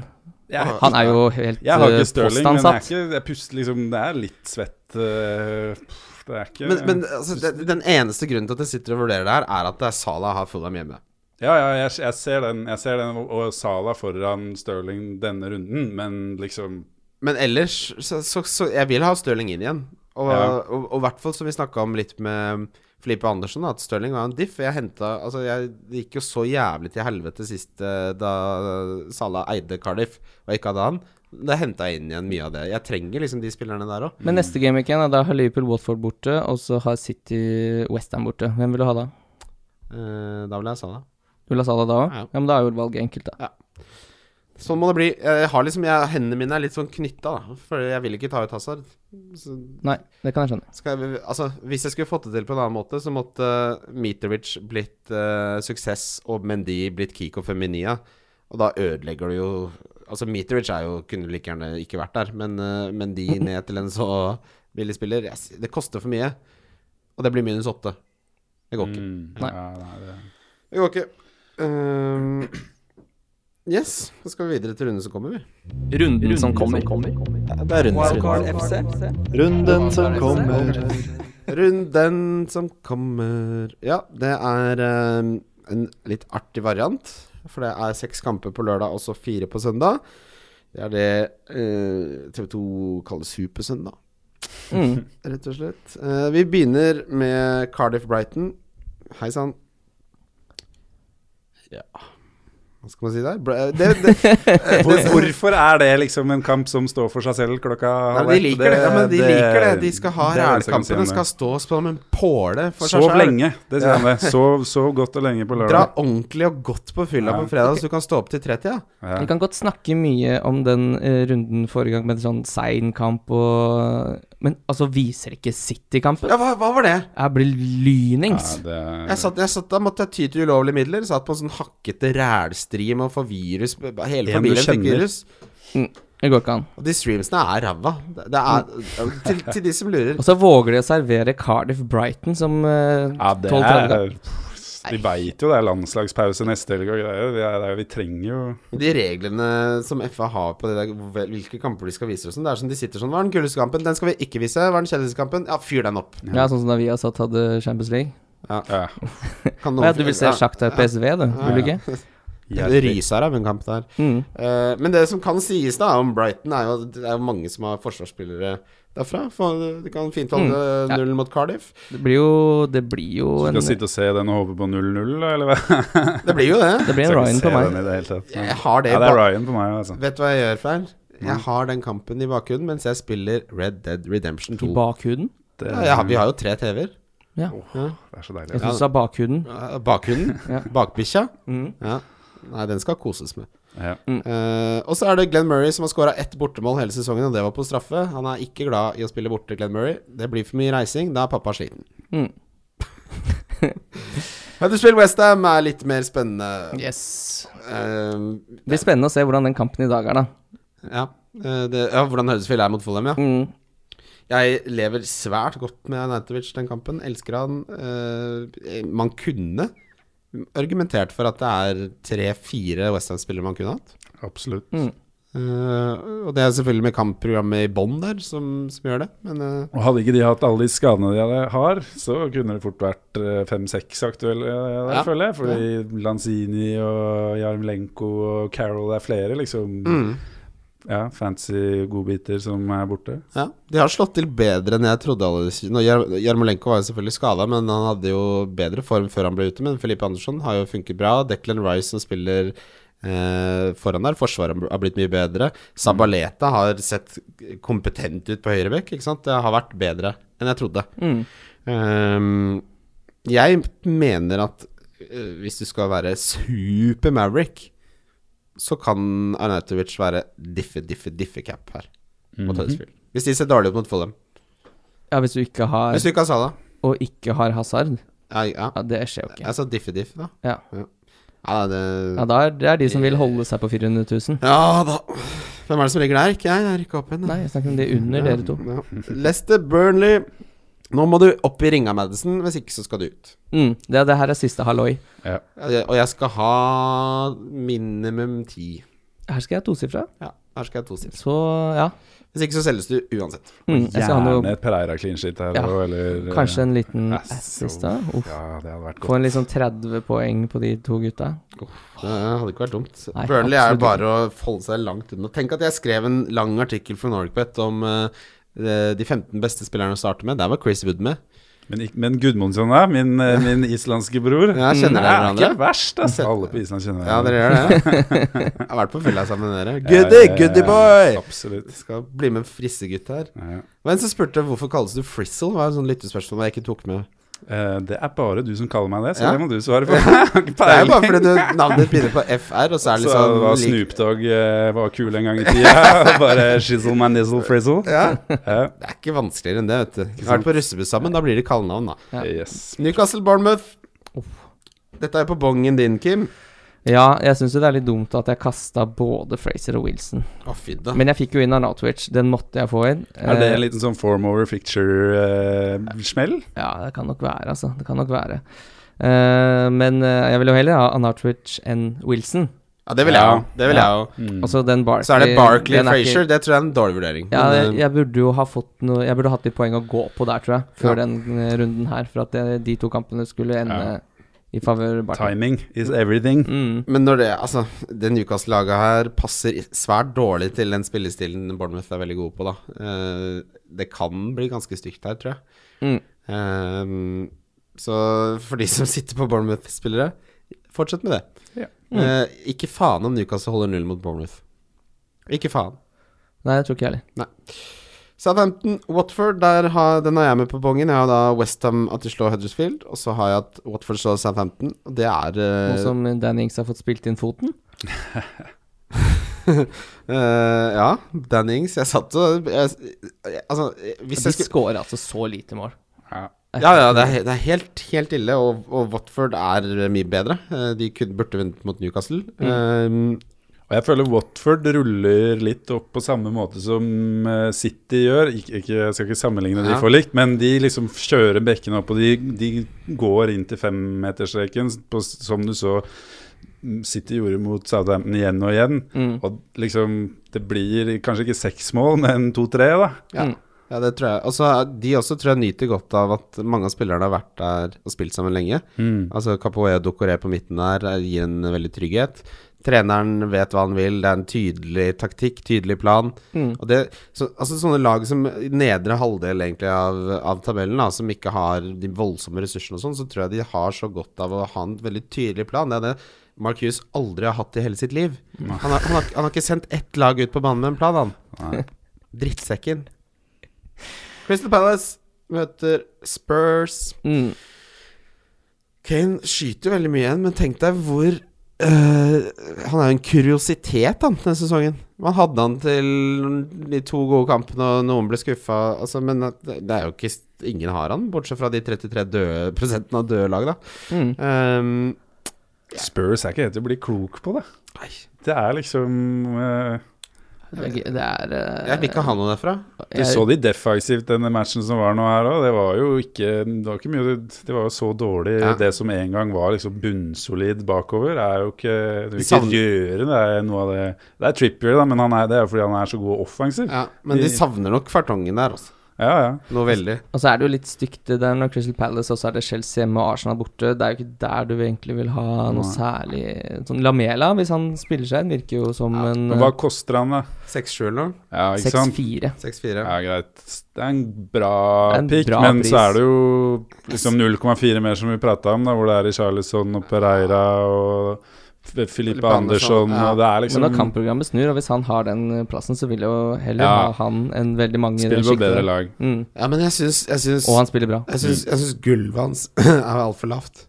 jeg,
Han er jo helt
jeg har
eh,
ikke Stirling, men jeg, er
postansatt.
ikke, jeg puster liksom Det er litt svett eh, pff, Det er ikke
Men, men altså, den, den eneste grunnen til at jeg sitter og vurderer det her, er at det er Salah har Fulham hjemme.
Ja, ja, jeg, jeg ser den, jeg ser den og- og Sala foran Stirling denne runden, men liksom
Men ellers så, så, så jeg vil ha Stirling inn igjen. Og i
Ja.
og, og hvert fall som vi snakka om litt med Filipe Andersen, at Stirling var en diff. Jeg henta Altså, jeg, det gikk jo så jævlig til helvete sist eh, da Salah eide Cardiff og ikke hadde han. Da henta jeg inn igjen mye av det. Jeg trenger liksom de spillerne der òg.
Men neste game igjen, da har Liverpool Watford borte, og så har City Westham borte. Hvem vil du ha da?
Eh, da vil jeg ha Salah.
Du vil ha Salah da òg?
Ja.
Ja. men da er jo valget enkelt, da.
Sånn må det bli. Jeg har liksom, jeg, Hendene mine er litt sånn knytta, da. For jeg vil ikke ta ut Hazard. Så
Nei, det kan jeg skjønne.
Skal jeg, altså, hvis jeg skulle fått det til på en annen måte, så måtte eh, Mitrovic blitt eh, suksess og Mendy blitt Kiko Feminia. Og da ødelegger du jo Altså, Mitrovic er jo, kunne like gjerne ikke vært der, men eh, Mendy ned til en så billig spiller jeg s- Det koster for mye. Og det blir minus åtte. Det går ikke.
mm,
Nei.
Ja, nei det,
Det går ikke. Ehm, yes, da skal vi videre til runden som kommer, vi.
Runden som kommer.
Det er rundt
Wildcard FC.
Runden som kommer.
Runden som kommer Ja, det er eh, en litt artig variant. For det er seks kamper på lørdag, og så fire på søndag. Det er det eh, TV2 kaller Supersøndag,
Mm.
rett og slett. Eh, vi begynner med Cardiff Brighton. Hei sann. Ja Hva skal man si der? Bra- Det, det,
Eh, Hvor, hvorfor er det liksom en kamp som står for seg selv klokka
Nei, men
halv
de
ett?
liker det. Ja, men de liker det. De skal ha
det er det eneste jeg kan si
rælkampene.
om det.
Skal stå som en påle for seg
Sov
selv.
lenge, det sier han det. Sov, sov godt og lenge på
Dra
lørdag.
ordentlig og godt på fylla
Ja.
på fredag, så du kan stå opp til 30. Ja.
Ja.
Vi kan godt snakke mye om den eh, runden forrige gang med sånn sein kamp og Men altså, viser ikke City-kampen?
Ja, hva, hva var det?
Jeg blir
Ja,
lynings.
det er-
Jeg satt, jeg satt, da måtte jeg ty til ulovlige midler. Satt på en sånn hakkete rælstri med å få virus. Hele
En du
familien fikk
kjenner.
virus.
Det går ikke an.
Og de streamsene er ræva. Det, det er, til, til de som lurer.
Og så våger de å servere Cardiff Brighton som eh,
ja, det
12-30.
er De veit jo det er landslagspause neste helg og greier. Det er, det er, vi trenger jo
De reglene som FA har på det der, hvor- hvilke kamper de skal vise og sånn, det er som de sitter sånn Hva er den kuleste kampen? Den skal vi ikke vise. Hva er den kjedeligste kampen? Ja, fyr den opp.
Ja, sånn som da vi har satt hadde Champions League.
ja.
Kan
Å ja, du vil se Shakhtar PSV, du? Vil du ikke?
Ja. Det ryser av en kamp der.
Mm.
Eh, men det som kan sies da om Brighton, er jo at det er mange som har forsvarsspillere derfra. For det kan fint holde
Mm, ja.
null mot Cardiff.
Det blir jo Det blir jo en
Skal
Det
sitte og se den og håpe på 0-0, da, eller hva?
Det blir jo det.
blir en
Skal ikke
Ryan
se
på meg.
den i det hele tatt.
Jeg har det. i
Ja, det er
bak-
Ryan på meg, altså.
Vet du hva jeg gjør, Freyr? Jeg har den kampen i bakgrunnen mens jeg spiller Red Dead Redemption
I
2.
bakhuden?
Det,
Ja, jeg har, vi har jo tre TV-er.
Ja.
det er så
Jeg
deilig.
syns du sa bakhuden.
Ja, Bakgrunnen.
Ja.
Bakbikkja.
Mm.
Ja. Nei, den skal koses med.
Ja.
Eh, og så er det Glenn Murray som har skåra ett bortemål hele sesongen, og det var på straffe. Han er ikke glad i å spille borte, Glenn Murray. Det blir for mye reising. Da er pappa sliten.
Mm.
Huddersfield Westham er litt mer spennende.
Yes.
Eh,
Det blir spennende å se hvordan den kampen i dag er, da.
ja. Eh, det, ja, hvordan Huddersfield er mot Fulham, ja.
Mm.
Jeg lever svært godt med Anatovic den kampen. Elsker han. Eh, man kunne argumentert for at det er tre-fire Westham-spillere man kunne hatt.
Absolutt.
Mm.
Eh, og det er selvfølgelig med kampprogrammet i bånn der som, som gjør det, men eh,
Og hadde ikke de hatt alle de skadene de hadde- har, så kunne det fort vært eh, fem-seks aktuelle eh, der,
Ja.
føler jeg. Fordi Lanzini og Jarmlenko og Carol er flere, liksom.
Mm.
Ja, fancy godbiter som er borte.
ja. De har slått til bedre enn jeg trodde. alle disse- Nå, Jar Jarmolenko var jo selvfølgelig skada, men han hadde jo bedre form før han ble ute. Men Felipe Andersson har jo funket bra. Declan Rice som spiller eh, foran der. Forsvaret har blitt mye bedre. Sabaleta har sett kompetent ut på høyrebekk. ikke sant? Det har vært bedre enn jeg trodde.
Mm.
Ehm, jeg mener at eh, hvis du skal være super Maverick, så kan Arnautovic være diffe, diffe, diffe cap her mot Huddersfield. Hvis de ser dårlig ut mot Fulham.
Mhm. Ja, hvis du ikke har
Hvis du ikke har Salah
Og ikke har Hazard.
Ja, ja.
Ja, det skjer jo ikke.
Jeg sa diffe, diffe, da.
Ja.
Ja, det
Ja, da er det er de som vil holde seg på 400 000.
Ja da. Hvem er det som ligger der? Ikke jeg. Jeg rykka opp igjen.
Nei, jeg snakker om de under dere to.
Ja. Leicester, Burnley. Nå må du opp i ringa, Madison, hvis ikke så skal du ut.
Mm. Det, det her er siste halloi.
Ja.
Ja, det- Og jeg skal ha minimum ti.
Her skal jeg ha tosifra.
Ja, her skal jeg ha to sifre.
Så ja.
Hvis ikke så selges du uansett.
Mm. Jeg skal ha
Gjerne
noe
et Pereira clean shit her
Ja.
òg, eller
Kanskje en liten
eh,
assist, da. Uff.
Ja, det hadde vært
Få
godt.
en liksom 30 poeng på de to gutta.
Det hadde ikke vært dumt.
Nei,
Burnley er
absolutt
jo bare å holde seg langt unna. Tenk at jeg skrev en lang artikkel for Norwegian om eh, de 15 beste spillerne å starte med. Der var Chris Wood med.
Men, ikk- men Gudmundsson, da? Min, eh, min islandske bror?
Ja, kjenner
det
dere
er ikke
hverandre?
verst, altså. Alle på Island kjenner
Ja, dere gjør det? Jeg har vært på fylla sammen med dere.
Ja,
Goody,
ja, ja,
goody
ja,
boy!
Absolutt.
Skal bli med frissegutt her.
Ja, ja.
Det var en som spurte hvorfor kalles du Frizzle. Det var et sånt lyttespørsmål jeg ikke tok med.
Eh, det er bare du som kaller meg det, så
Ja.
det må du svare på. Jeg har ikke
Det er jo
peiling.
bare fordi du navnet begynner på FR, og så er det
Så
liksom
det var
lik-
Snoop Dogg eh, var kul en gang i tida. Bare shizzle my nizzle frizzle. Ja.
Det er ikke vanskeligere enn det, vet du. Vi har vært på russebuss sammen, da blir det kallenavn, da.
Ja.
Yes.
Newcastle Bournemouth. Dette er på bongen din, Kim.
Ja, jeg syns jo det er litt dumt at jeg kasta både Fraser og Wilson.
Å, fy da.
Men jeg fikk jo inn Arnautovic. Den måtte jeg få inn.
Er det en
Eh,
liten sånn form over picture-smell?
Ja, det kan nok være, altså. Det kan nok være. Eh, men eh, jeg vil jo heller ha Arnautovic enn Wilson.
Ja, det vil jeg
Ja.
jo. Det vil jeg jo.
Altså den Barkley
Mm. Så er det Barkley
den er ikke-
Frazier. Det tror jeg er en dårlig vurdering.
Ja,
Men,
jeg,
eh,
jeg burde jo ha fått noe Jeg burde hatt litt poeng å gå på der, tror jeg, før
Ja.
den eh, runden her. For at det, de to kampene skulle ende
Ja.
i favør Barkley.
Timing is everything.
Mm.
men når det Altså, det Newcastle-laget her passer i- svært dårlig til den spillestilen Bournemouth er veldig gode på, da. Eh, det kan bli ganske stygt her, tror jeg. Ehm,
Mm.
Eh, så for de som sitter på Bournemouth-spillere Fortsett med det.
Ja.
Eh, ikke faen om Newcastle holder null mot Bournemouth. Ikke faen.
Nei, jeg tror ikke jeg heller.
Southampton, Watford, der har, den har jeg med på bongen. Jeg har da Westham at de slår Huddersfield, og så har jeg at Watford slår Southampton. Og det er eh,
Nå som Danny Ings har fått spilt inn foten.
eh, Ja, Dan Ings. Jeg satt og jeg, jeg, Altså,
De
hvis jeg skulle
skårer altså så lite mål.
Ja.
Ja, ja, det er, he- det er helt, helt ille, og, og Watford er mye bedre. Eh, De kunne, burde vunnet mot Newcastle. Eh,
Og jeg føler Watford ruller litt opp på samme måte som eh, City gjør. Ik ikke, jeg skal ikke sammenligne de
Ja.
for likt, men de liksom kjører bekkene opp, og de, de går inn til femmeterstreken, på- som du så mm, City gjorde mot Southampton igjen og igjen.
Mm.
Og liksom, det blir kanskje ikke seks mål, men to-tre, da.
Mm.
ja. ja, det tror jeg. Og så er- de også tror jeg nyter godt av at mange av spillerne har vært der og spilt sammen lenge. Altså Capoe og Docoré på midten der eh, gir en veldig trygghet. Treneren vet hva han vil, det er en tydelig taktikk, tydelig plan. Og det, så, altså Sånne lag som i nedre halvdel egentlig av, av tabellen, da, som ikke har de voldsomme ressursene og sånn, så tror jeg de har så godt av å ha en veldig tydelig plan. Det er det Mark Hughes aldri har hatt i hele sitt liv. Han har, han, har, han har ikke sendt ett lag ut på banen med en plan, han.
Nei.
Drittsekken. Crystal Palace møter Spurs.
Mm.
Kane skyter veldig mye igjen, men tenk deg hvor øh, Han er jo en kuriositet, han, denne sesongen. Man hadde han til de to gode kampene, og noen ble skuffa. Altså, men at det det er jo ikke Ingen har han, bortsett fra de 33 døde prosentene av døde lag, da.
Mm.
Ehm,
Spurs er ikke helt til å bli klok på, det.
Nei.
Det er liksom eh,
Det er, det er eh,
jeg vil ikke ha noe derfra.
Du så de defensivt denne matchen som var nå her òg. Det var jo ikke Det var ikke mye Det var jo så dårlig.
Ja.
Det som en gang var liksom bunnsolid bakover, er jo ikke Det
De
vil ikke
savner-
røre det er noe av det Det er Trippier, da, men han er, det er jo fordi han er så god offensiv.
Ja, men de
De-
savner nok kvartongen der, altså.
Ja, ja.
Noe veldig.
Og så er det jo litt stygt det der når Crystal Palace, og så er det Chelsea hjemme og Arsenal borte. Det er jo ikke der du egentlig vil ha noe
Nei.
særlig Sånn Lamela, hvis han spiller seg inn, virker jo som en
Men hva koster han, da?
6-7 eller noe?
Ja,
eh,
ikke sant?
6-4.
6-4.
Ja, greit. Det er en bra
Det er en
pick,
bra
men
pris.
så er det jo liksom 0,4 mer som vi prata om, da, hvor det er i Charlison og Pereira og F- Filippe
Andersson,
Andersson,
ja.
og det er
Men
liksom
når kampprogrammet snur, og hvis han har den eh, plassen, så vil jo heller
Ja.
ha han enn veldig mange
Spiller på
skikkelig-
bedre lag.
Mm.
Ja, men jeg syns, jeg syns
Og han spiller bra.
Jeg syns, jeg syns gulvet hans er altfor lavt.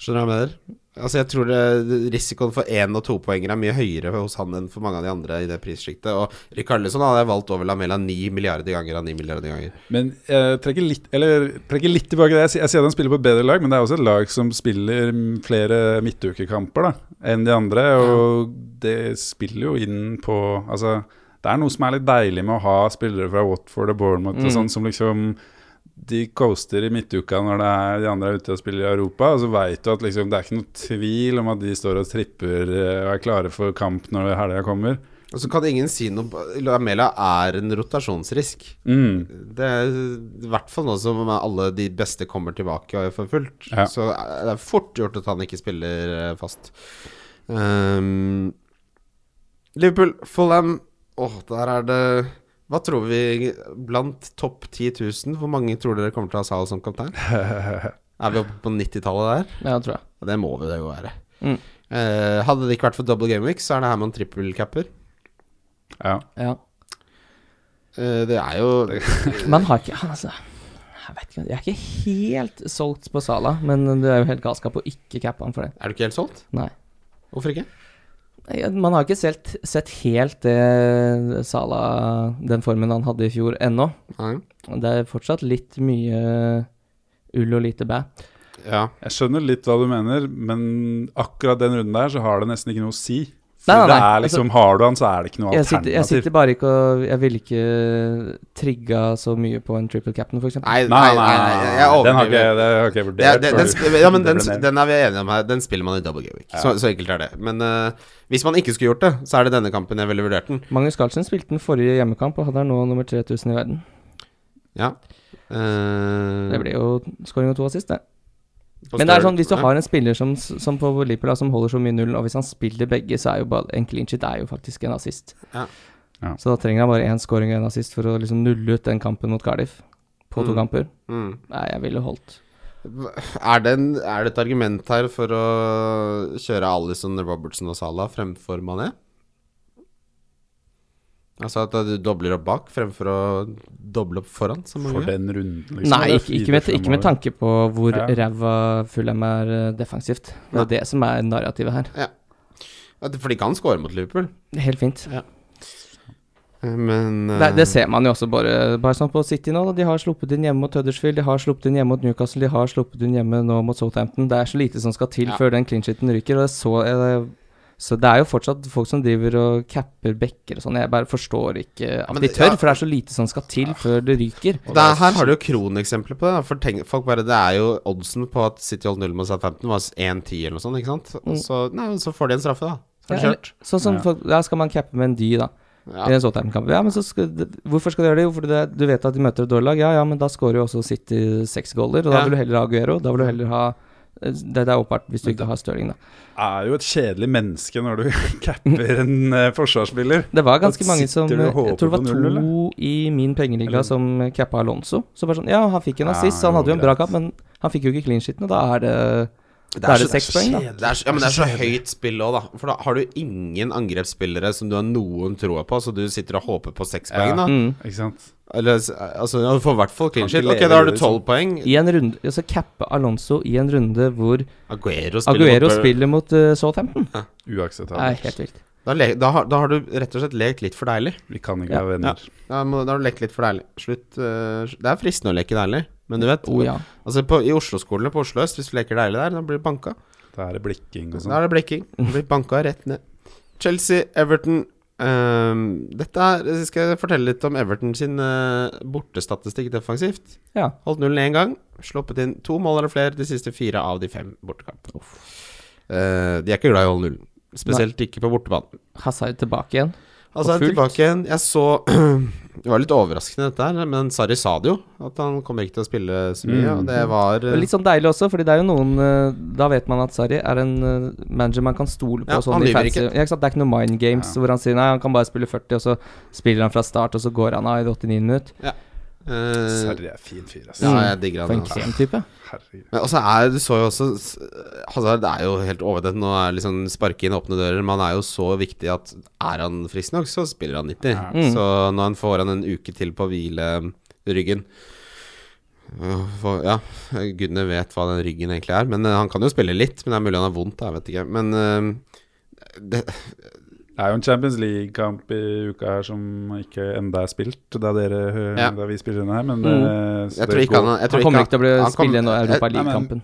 Skjønner du hva jeg mener? Altså Jeg tror det, risikoen for én- og topoenger er mye høyere hos han enn for mange av de andre i det prissjiktet. Og Rikarlison hadde jeg valgt over Lamela ni milliarder ganger av ni milliarder ganger.
Men jeg trekker litt, eller, trekker litt tilbake det. Jeg, sier- jeg sier at han spiller på et bedre lag, men det er også et lag som spiller mm, flere midtukekamper da, enn de andre. Og det spiller jo inn på Altså, det er noe som er litt deilig med å ha spillere fra Watford og Bournemouth og
Mm.
sånn som liksom de coaster i midtuka når det er de andre er ute og spiller i Europa. Og så veit du at liksom, det er ikke noe tvil om at de står og tripper eh, og er klare for kamp når helga kommer.
Og så Altså, kan ingen si noe Lamela er en rotasjonsrisk.
Mm.
Det er I hvert fall nå som alle de beste kommer tilbake for fullt.
Ja.
Så er det er fort gjort at han ikke spiller eh, fast. Ehm, Liverpool, Fulham Åh, der er det Hva tror vi blant topp 10 000? Hvor mange tror dere kommer til å ha Sal som kaptein? Er vi oppe på 90-tallet der?
Ja, tror jeg.
Ja, Det må vi det jo være.
Mm.
Eh, hadde det ikke vært for double game week, så er det her med en trippelcapper.
Ja.
Ja.
Uh, det er jo
Man har ikke Altså, jeg vet ikke Jeg er ikke helt solgt på Sala, men det er jo helt galskap å ikke cappe han for det.
Er du ikke helt solgt?
Nei.
Hvorfor ikke?
Nei, Man har ikke sett, sett helt det Sala Den formen han hadde i fjor, ennå.
Nei.
Det er fortsatt litt mye ull og lite bæ.
Ja.
Jeg skjønner litt hva du mener, men akkurat den runden der så har det nesten ikke noe å si. For
Nei, nei,
det
nei,
er liksom, Har du han, så er det ikke noe
Jeg sitter,
alternativ.
jeg sitter bare ikke og Jeg ville ikke trigga så mye på en triple cap'n, f.eks.
Nei,
Nei, nei, nei, nei,
jeg
den har
overdriver.
ikke, det har ikke
Det,
jeg
er-
vurdert.
det,
før.
den, sp- ja, men den,
Det ble nevnt.
den er vi enige om her. Den spiller man i double game week. Så, så enkelt er det. Men eh, hvis man ikke skulle gjort det, så er det denne kampen jeg ville vurdert den.
Magnus Carlsen spilte den forrige hjemmekamp, og han er nå nummer 3000 i verden.
Ja. Eh,
Det
Mm.
blir jo scoring og to assist, det.
på
Men det er
større-
sånn, hvis du
ja.
har en spiller som, som på Liverpool da, som holder så mye nullen, og hvis han spiller begge, så er jo bare en clean sheet er jo faktisk en assist.
Ja.
Ja.
Så da trenger han bare én scoring og én assist for å liksom nulle ut den kampen mot Cardiff på to
Mm.
kamper.
mm.
Nei, jeg ville holdt.
Er det, en, er det et argument her for å kjøre Alison, Robertson og Salah fremfor Mané? Altså at du dobler opp bak fremfor å doble opp foran? Som
for
mange?
den runden, liksom.
Nei,
Det er
ikke, ikke, med,
fire
ikke med
fremover.
tanke på hvor
Ja.
ræva Fulham er eh, defensivt. Det
Ja.
er det som er narrativet her.
At- For de kan score mot Liverpool,
Helt fint.
men
Det,
eh,
det ser man jo også bare, bare sånn på City nå. da. De har sluppet inn hjemme mot Huddersfield, de har sluppet inn hjemme mot Newcastle, de har sluppet inn hjemme nå mot Southampton. Det er så lite som skal til
Ja.
før den clinchiten ryker. Og det er så, eh, så det er jo fortsatt folk som driver og capper bekker og sånn. Jeg bare forstår ikke at
Men
de
det-
tør,
ja.
for det er så lite som skal til før det ryker.
Og det er, her har du jo kroneksempler på det. da, For tenk, folk bare, Det er jo oddsen på at City holdt null mot Southampton, var 1-10 eller noe sånt. ikke sant? Og så, nei, så får de en straffe, da. Så er det
Mm. Ja,
kjørt.
Sånn som
Ja.
folk, ja, skal man cappe med en dy, da. i
Ja.
den Southampton-kampen. Ja, men så skal, det- hvorfor skal du gjøre det? Jo, fordi det, du vet at de møter et dårlig lag. Ja, ja, men da scorer jo også City seks goaler, og da
Ja.
vil du heller ha Aguero. Da vil du heller ha eh, det, det er åpenbart hvis du ikke har Stirling, da.
Er jo et kjedelig menneske når du capper en eh, forsvarsspiller.
Det var ganske
Da
mange
sitter
som eh,
du
Jeg
og
tror
håper
det var
på
to
null,
i min pengeliga
Eller-
som cappa Alonso. Så bare sånn Ja, han fikk en
Ja,
assist, så han
jo,
hadde jo en bra
greit.
kamp, men han fikk jo ikke clean shiten, og da er det Da er det
så-
seks poeng, da.
Det er, så- ja, men det er så høyt spill òg, da. For da har du ingen angrepsspillere som du har noen troa på, så du sitter og håper på seks poeng, da.
mm.
Ikke sant?
Eller altså, ja, du får i hvert fall clean
Kan
shit.
ikke
Ok,
leve
da har du
det,
tolv poeng.
I en runde Altså cappe Alonso i en runde hvor
Aguero spiller
Aguero
mot Bur-
spiller mot uh, Southampton. Det er
Uakseptabelt.
helt vilt.
Da, le, da, har, da har du rett og slett lekt litt for deilig.
Vi kan ikke
Ja.
være venner.
Da, må, da har du lekt litt for deilig. Slutt eh, Det er fristende å leke deilig, men du vet
Oh, ja.
Altså på, I Oslo-skolene på Oslo øst, hvis du leker deilig der, da blir du banka.
Da er det blikking og
Da
sånn.
er det blikking. Du blir banka rett ned. Chelsea, Everton ehm, Dette er Jeg skal fortelle litt om Everton sin eh, bortestatistikk defensivt.
ja.
Holdt nullen én gang, sluppet inn to mål eller flere de siste fire av de fem bortekampene. Eh, de er ikke glad i å holde nullen. Spesielt ikke på bortebane.
Hazard tilbake igjen.
Altså,
Og fullt.
tilbake igjen Jeg så Det var litt overraskende, dette her, men Sarri sa det jo. At han kommer ikke til å spille så mye.
Mm.
Og det var
Det er Litt sånn deilig også, fordi det er jo noen eh, Da vet man at Sarri er en eh, manager man kan stole på.
Ja,
og sånn
han
i
lyver
fancy.
ikke.
Ja, ikke sant? Det er ikke noe mind games hvor han sier nei, han kan bare spille 40, og så spiller han fra start, og så går han av i det 89 minutt.
eh,
Sarri er fin fyr, ass.
Ja,
Mm.
jeg digger
For
han.
en
altså.
kremtype.
Herregud.
Men også er, du så jo også s- Hazard er jo helt overdødd. Nå er liksom sparke inn åpne dører, men han er jo så viktig at er han frisk nok, så spiller han 90.
Ja.
Mm.
Så når han får han en uke til på å hvile um, ryggen øh, for, Ja, gudene vet hva den ryggen egentlig er. Men eh, han kan jo spille litt, men det er mulig han har vondt, da, jeg vet ikke. Men eh, det,
Det er jo en Champions League-kamp i uka her som ikke enda er spilt, da, dere, hø-
Ja.
da vi spiller inn her, men
Mm.
eh, så
jeg
det
tror ikke
går-
han jeg tror
Han kommer ikke til å bli
han kom-
spille nå Europa
nei, men-
League-kampen.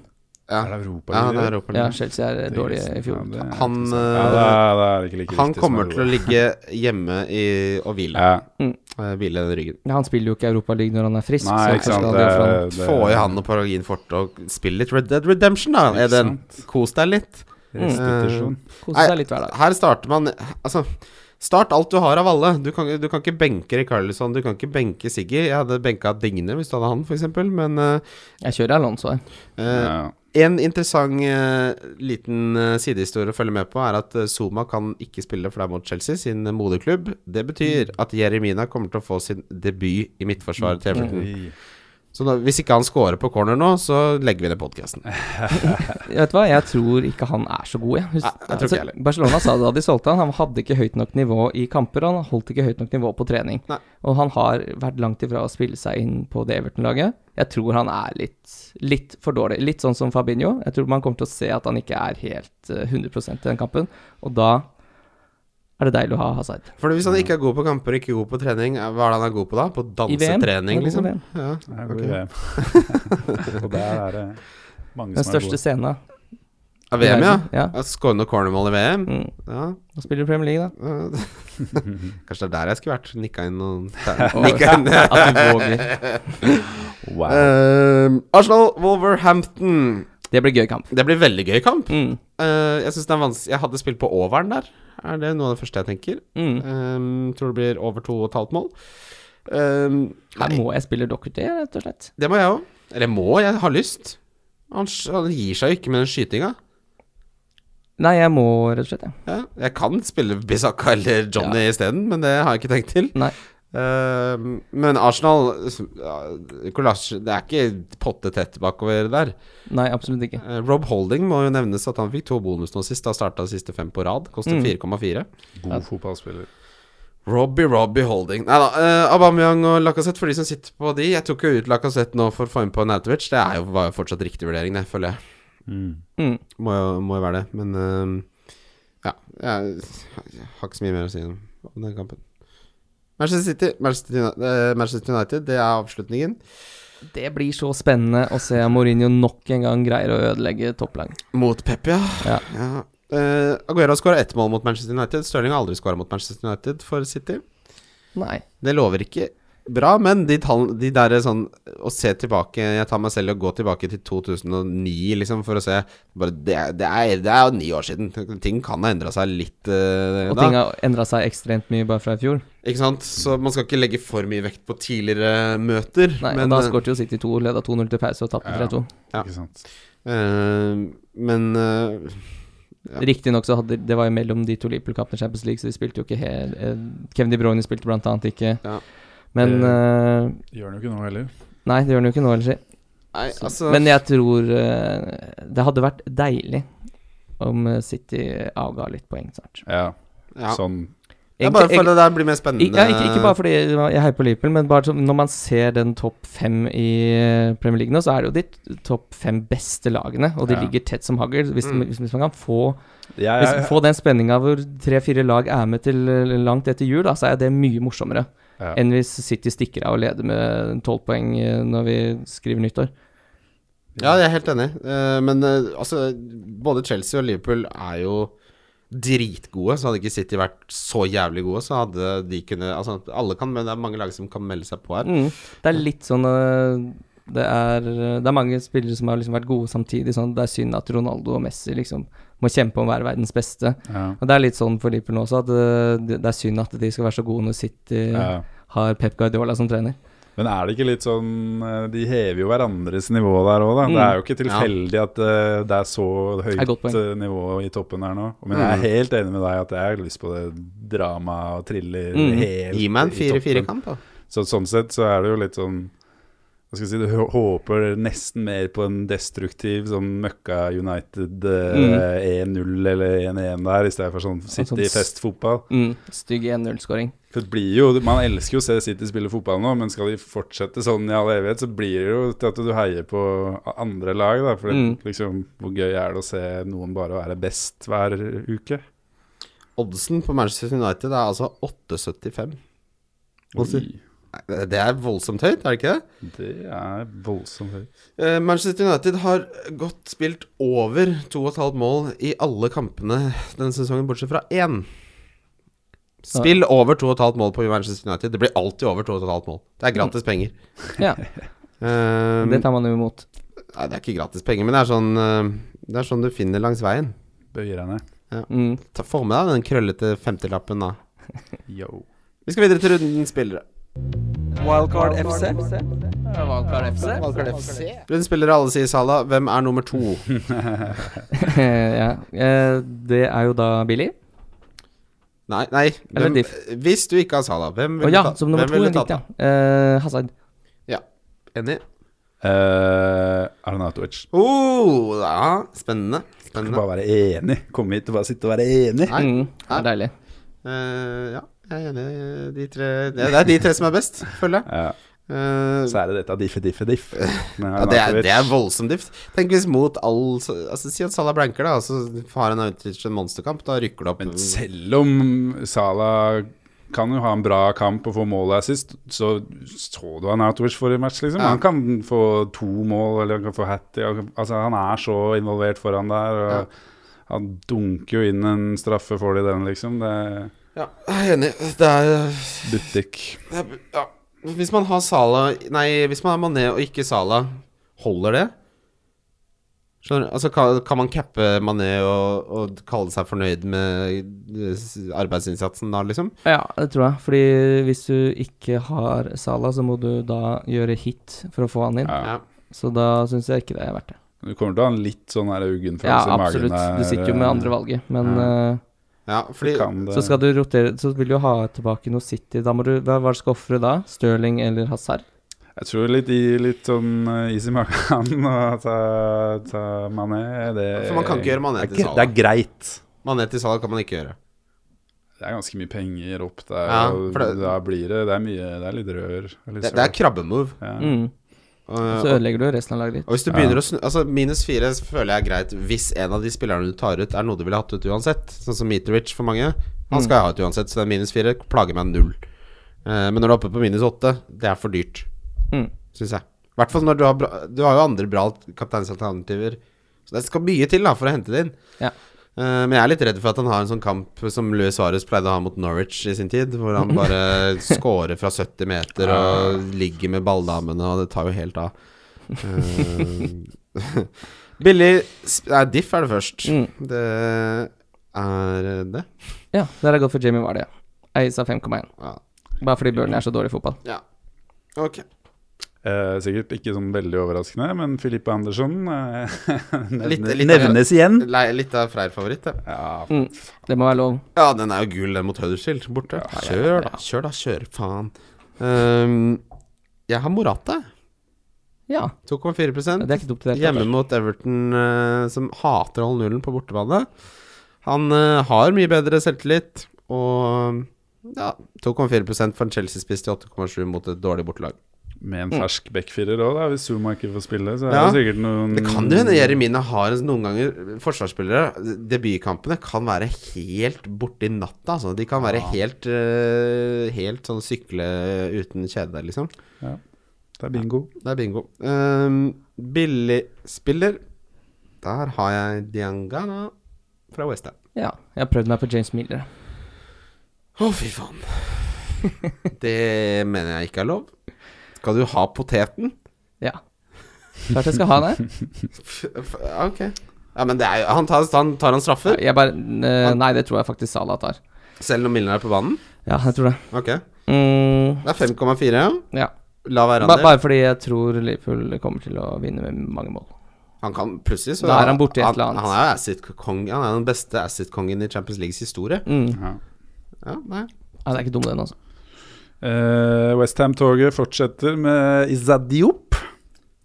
Ja,
Er det Europa
ja, han
League? liksom-
er Europa
Ja,
League.
Chelsea er dårlige i fjor.
Ja, det er
Han, eh,
interessant. ja, det er, det er ikke like
Han
viktig som
kommer til å
Europa.
ligge hjemme i, og hvile.
ja.
eh, Hvile den ryggen.
Ja, han spiller jo ikke Europa League når han er frisk.
Nei,
så
ikke sant.
kanskje han
Det,
gjør for han.
det,
Få i han og paragin forte og spille litt Red Dead Redemption, da.
Ikke
Er den.
sant?
Kos deg litt.
Restitusjon.
Kose seg litt hver dag.
Her starter man Altså, start alt du har av alle. Du kan, du kan ikke benke Rikarlison, du kan ikke benke Siggy. Jeg hadde benka Digne hvis du hadde han, f.eks., men eh,
Jeg kjører Alonso her.
eh,
Ja.
En interessant eh, liten eh, sidehistorie å følge med på, er at eh, Zuma kan ikke spille for det er mot Chelsea, sin moderklubb. Det
Mm.
betyr at Jeremina kommer til å få sin debut i midtforsvaret
Mm.
til Everton.
Oi.
Så da, hvis ikke han scorer på corner nå, så legger vi ned podkasten.
Jeg vet du hva, jeg tror ikke han er så god, jeg. Husk-
Nei,
altså,
jeg tror ikke jeg heller.
Barcelona sa det da de solgte han, han hadde ikke høyt nok nivå i kamper, og han holdt ikke høyt nok nivå på trening.
Nei.
Og han har vært langt ifra å spille seg inn på det Everton-laget. Jeg tror han er litt, litt for dårlig. Litt sånn som Fabinho. Jeg tror man kommer til å se at han ikke er helt eh, 100 i den kampen, og da er det deilig å ha Hazard.
For hvis han ikke er god på kamper, ikke god på trening, eh, hva er det han er god på da? På
Mm. I VM,
dansetrening,
han er god
liksom?
på VM.
Ja.
Det er god idé. Og der er det mange
Den
som er
største
gode.
scenen
Ja, VM, ja.
ja.
ja Skåre noe cornermål i VM.
Mm.
Ja.
Nå spiller du Premier League, da.
eh, Kanskje det er der jeg skulle vært. Nikka inn noen
Og
Nikka inn
at du våger.
Wow.
Eh, Arsenal, Wolverhampton.
Det blir gøy kamp.
Det blir veldig gøy kamp.
Mm.
Eh, jeg synes det er vanskelig Jeg hadde spilt på overen der. Er det noe av det første jeg tenker?
Mm.
Eh, tror det blir over to og et halvt mål. Eh,
Her
nei,
må jeg spille Docherty, rett og slett.
det må jeg òg. Eller må, jeg har lyst. Han, sk- han gir seg jo ikke med den skytinga.
Nei, jeg må rett og slett, jeg.
Ja, jeg kan spille Bisakka eller Johnny isteden, men det har jeg ikke tenkt til.
Nei.
Eh, Eh, men Arsenal ja, Kolasj- Det er ikke pottetett bakover der.
Nei, absolutt ikke.
Eh, Rob Holding må jo nevnes at han fikk to bonus nå sist. Da starta de siste fem på rad. Koster
Mm.
4,4.
God fotballspiller.
Robbie Robbie Holding. Nei da. eh, Aubameyang og Lacassette for de som sitter på de. Jeg tok jo ut Lacassette nå for å få inn på Nautovic. Det er jo, var jo fortsatt riktig vurdering, det, føler jeg.
Mm.
Må jo, må jo være det, men ehm, Ja, jeg, jeg har ikke så mye mer å si om om den kampen. Manchester City, Manchester United, Manchester United det er avslutningen.
Det blir så spennende å se om Mourinho nok en gang greier å ødelegge topplag.
Mot Pep, ja.
Ja.
ja. Eh, Aguero har skåra ett mål mot Manchester United. Stirling har aldri skåra mot Manchester United for City.
Nei.
Det lover ikke bra, men de, tall, de der sånn Å se tilbake Jeg tar meg selv og gå tilbake til 2009, liksom, for å se bare, det, er- det, er, det er jo ni år siden. Ting kan ha endra seg litt eh,
Og
da.
ting har endra seg ekstremt mye bare fra i fjor.
Ikke sant? Så man skal ikke legge for mye vekt på tidligere møter.
Nei,
men
og da
eh,
skåret jo City 2, leda 2-0 til pause og tapte
Ja.
3-2.
Ja.
Ikke sant.
eh, Men eh, Ja.
Riktignok så hadde det var jo mellom de to Liverpool-kampene i Champions League, så de spilte jo ikke helt eh, Kevin De Bruyne spilte blant annet ikke.
Ja.
Men
Det-
eh,
Gjør han jo ikke noe heller.
Nei, det gjør han jo ikke nå, ellers.
nei,
Så-
altså
Men jeg tror eh, det hadde vært deilig om eh, City avga litt poeng snart.
Ja,
ja.
sånn
Jeg bare
Egentlig-
føler det der blir mer spennende.
Ik- Ja, ikke, ikke bare fordi jeg heier på Liverpool, men bare som- når man ser den topp fem i eh, Premier League nå, så er det jo de topp fem beste lagene, og de
Ja.
ligger tett som hagl. Hvis,
Mm. Eh,
hvis, hvis man kan få,
Jeg,
hvis, få den spenninga hvor tre-fire lag er med til eh, langt etter jul, da, så er det mye morsommere
ja.
enn hvis City stikker av og leder med tolv poeng eh, når vi skriver nyttår.
Ja, jeg er helt enig. Eh, men eh, altså, både Chelsea og Liverpool er jo dritgode. Så hadde ikke City vært så jævlig gode, så hadde de kunne Altså, alle kan, men det er mange lag som kan melde seg på her.
Mm. Det er litt sånn eh, det er, eh, det er mange spillere som har liksom vært gode samtidig. Sånn, det er synd at Ronaldo og Messi liksom må kjempe om å være verdens beste.
Ja.
Og Det er litt sånn for Liverpool også, at eh, det, det er synd at de skal være så gode når City
Ja.
har Pep Guardiola som trener.
Men er det ikke litt sånn eh, De hever jo hverandres nivå der òg, da.
Mm.
Det er jo ikke tilfeldig at eh, det er så høyt
er godt poeng.
eh, nivå i toppen her nå. Men jeg
Mm.
er helt enig med deg at jeg har lyst på det drama og thriller
Mm.
helt
Gi meg en
i toppen.
4-4-kamp, da.
Så sånn sett så er det jo litt sånn hva skal jeg si, Du hå- håper nesten mer på en destruktiv sånn møkka United eh, 1-0 eller 1-1 der, i stedet for sånn
sånn s-
City-festfotball.
Mm, stygg 1-0-skåring.
For det blir jo, Man elsker jo å se City spille fotball nå, men skal de fortsette sånn i all evighet, så blir det jo til at du heier på andre lag. da, For det,
Mm.
liksom, hvor gøy er det å se noen bare være best hver uke?
Oddsen på Manchester United er altså 8,75. Oddsen.
Oi,
Nei, Det er voldsomt høyt, er det ikke det?
det er voldsomt høyt.
Eh, Manchester United har godt spilt over 2,5 mål i alle kampene denne sesongen, bortsett fra én. Spill over 2,5 mål på Manchester United. Det blir alltid over 2,5 mål. Det er gratis penger.
Ja,
Um,
Mm. det tar man jo imot.
Nei, det er ikke gratis penger, men det er sånn, eh, det er sånn du finner langs veien.
Bøyer jeg ned.
Mm.
Ta, få med deg den krøllete 50-lappen, da.
Yo.
Vi skal videre til runden spillere.
Wildcard FC. Wildcard FC.
Runden spillere, alle sier Sala. Hvem er nummer to?
ja. eh, Det er jo da Billy.
Nei, nei.
Eller
Hvem, hvis du ikke har Sala, hvem
Å
vil
ja,
du ta?
som nummer
hvem
to.
vil
er
du ta
Litt, ja. Eh, Hazard.
på? Enig.
Eh, Arnautovic.
Oh, ja. Spennende.
Skal
Spennende.
bare være enig. Komme hit og bare sitte og være enig.
Nei.
Mm, det er deilig.
Eh, ja, jeg er enig. De tre, det er de tre som er best, føler jeg.
Ja,
Eh,
så er det dette diffe-difffe-diff.
ja, det, er, det er voldsomt dypt. Tenk hvis mot all altså, Si at Salah blanker, da, og så har han Autric en monsterkamp. Da rykker det opp.
Men selv om Salah kan jo ha en bra kamp og få mål der sist, så så du han Autowich forrige match, liksom.
Ja.
Han kan få to mål, eller han kan få hat Altså, han er så involvert foran der. Og
Ja.
Han dunker jo inn en straffe for de den, liksom. Det er
Ja, jeg er enig. Det er,
butikk.
det er ja. Hvis man har Salah Nei, hvis man har Mané og ikke Salah, holder det? Skjønner du? Altså, kan, kan man cappe Mané og, og kalle seg fornøyd med eh, s- arbeidsinnsatsen da, liksom?
Ja, det tror jeg. Fordi hvis du ikke har Salah, så må du da gjøre hit for å få han inn.
Ja.
Ja.
Så da syns jeg ikke det er verdt det.
Du kommer til å ha en litt sånn her uggen
Ja,
følelse i magen.
absolutt.
der,
Du sitter jo med andre valget, men
Ja.
eh,
Ja, fordi
Så kan det-
Så skal du rotere Så vil du ha tilbake noe City. Da må du Hva hva er det du skal ofre da? Stirling eller Hazard?
Jeg tror litt, i, litt sånn eh, is i magen og ta, ta mané det,
For man kan ikke gjøre Mané
eh, det
til
er ikke-
Salah.
Det er greit.
Mané til salg kan man ikke gjøre.
Det er ganske mye penger opp der.
Ja,
og
for det-
da blir det, det er mye Det er litt rør. og Litt
Det, det er krabbemove.
søl. ja.
Mm.
Og-
Så ødelegger du resten av laget ditt.
Og hvis du begynner å snu Altså Minus fire føler jeg er greit hvis en av de spillerne du tar ut, er noe du ville hatt ut uansett. Sånn som Mitrovic for mange.
Mm.
Han skal jeg ha ut uansett, så den minus fire plager meg null. Eh, men når du er oppe på minus åtte, det er for dyrt,
Mm.
syns jeg. I hvert fall når du har bra, Du har jo andre bra kapteinsalternativer. Så det skal mye til da for å hente det inn.
Ja.
Eh, men jeg er litt redd for at han har en sånn kamp som Luis Suárez pleide å ha mot Norwich i sin tid, hvor han bare scorer fra 70 meter og ligger med balldamene, og det tar jo helt av. Eh, billig sp- Nei, diff er det først.
Mm.
Det er det.
Ja, der har jeg gått for Jamie Vardy. Eis av 5,1.
Ja.
Bare fordi Burnley er så dårlig i fotball.
ja. Ok.
Eh, sikkert ikke sånn veldig overraskende, men Filippe Andersson eh, nevnes,
Litt- litt-
nevnes igjen.
Lei, litt av Freyr-favoritt, det.
Ja,
Mm. Det må være lov.
Ja, den er jo gul, den mot Huddersfield, borte. Kjør, da. Kjør, da. Kjør, faen. Ehm, jeg har Morata.
Ja.
2,4
Det er ikke dumt i det hele
Hjemme
tatt.
mot Everton, eh, som hater å holde nullen på bortebane. Han eh, har mye bedre selvtillit, og ja, 2,4 for en Chelsea-spiss til 8,7 mot et dårlig bortelag.
Med en fersk backfirer òg, hvis Zuma ikke får spille. Så er
Mm. Ja.
det sikkert noen
Det kan jo hende Jeremina har en- noen ganger Forsvarsspillere, debutkampene, kan være helt borti natta. Altså. De kan være helt, eh, helt sånn sykle uten kjede, liksom.
Det er bingo.
Det er bingo. Um, Billigspiller Der har jeg Diangana fra Westham.
Ja. Jeg har prøvd meg på James Miller.
Å, fy faen. Det mener jeg ikke er lov. Skal du ha poteten?
Ja. Klart jeg skal ha det.
F- f- Ok. Ja, men det er jo Han tar, han tar han straffer,
Jeg bare eh, Nei, det tror jeg faktisk Salah tar.
selv når Milner er på banen?
Ja, jeg tror det.
Ok. Det
Mm,
er 5,4.
ja.
La være
Ba
Ander.
bare fordi jeg tror Liverpool kommer til å vinne med mange mål.
Han kan plutselig så
Da er han borti et eller annet.
Han, han er jo asset-kong. Han er den beste asset-kongen i Champions Leagues historie.
Mm.
Ja.
Ja, nei.
Ja, det er ikke dumt, den, altså.
Eh, Westham-toget fortsetter med Izadiop.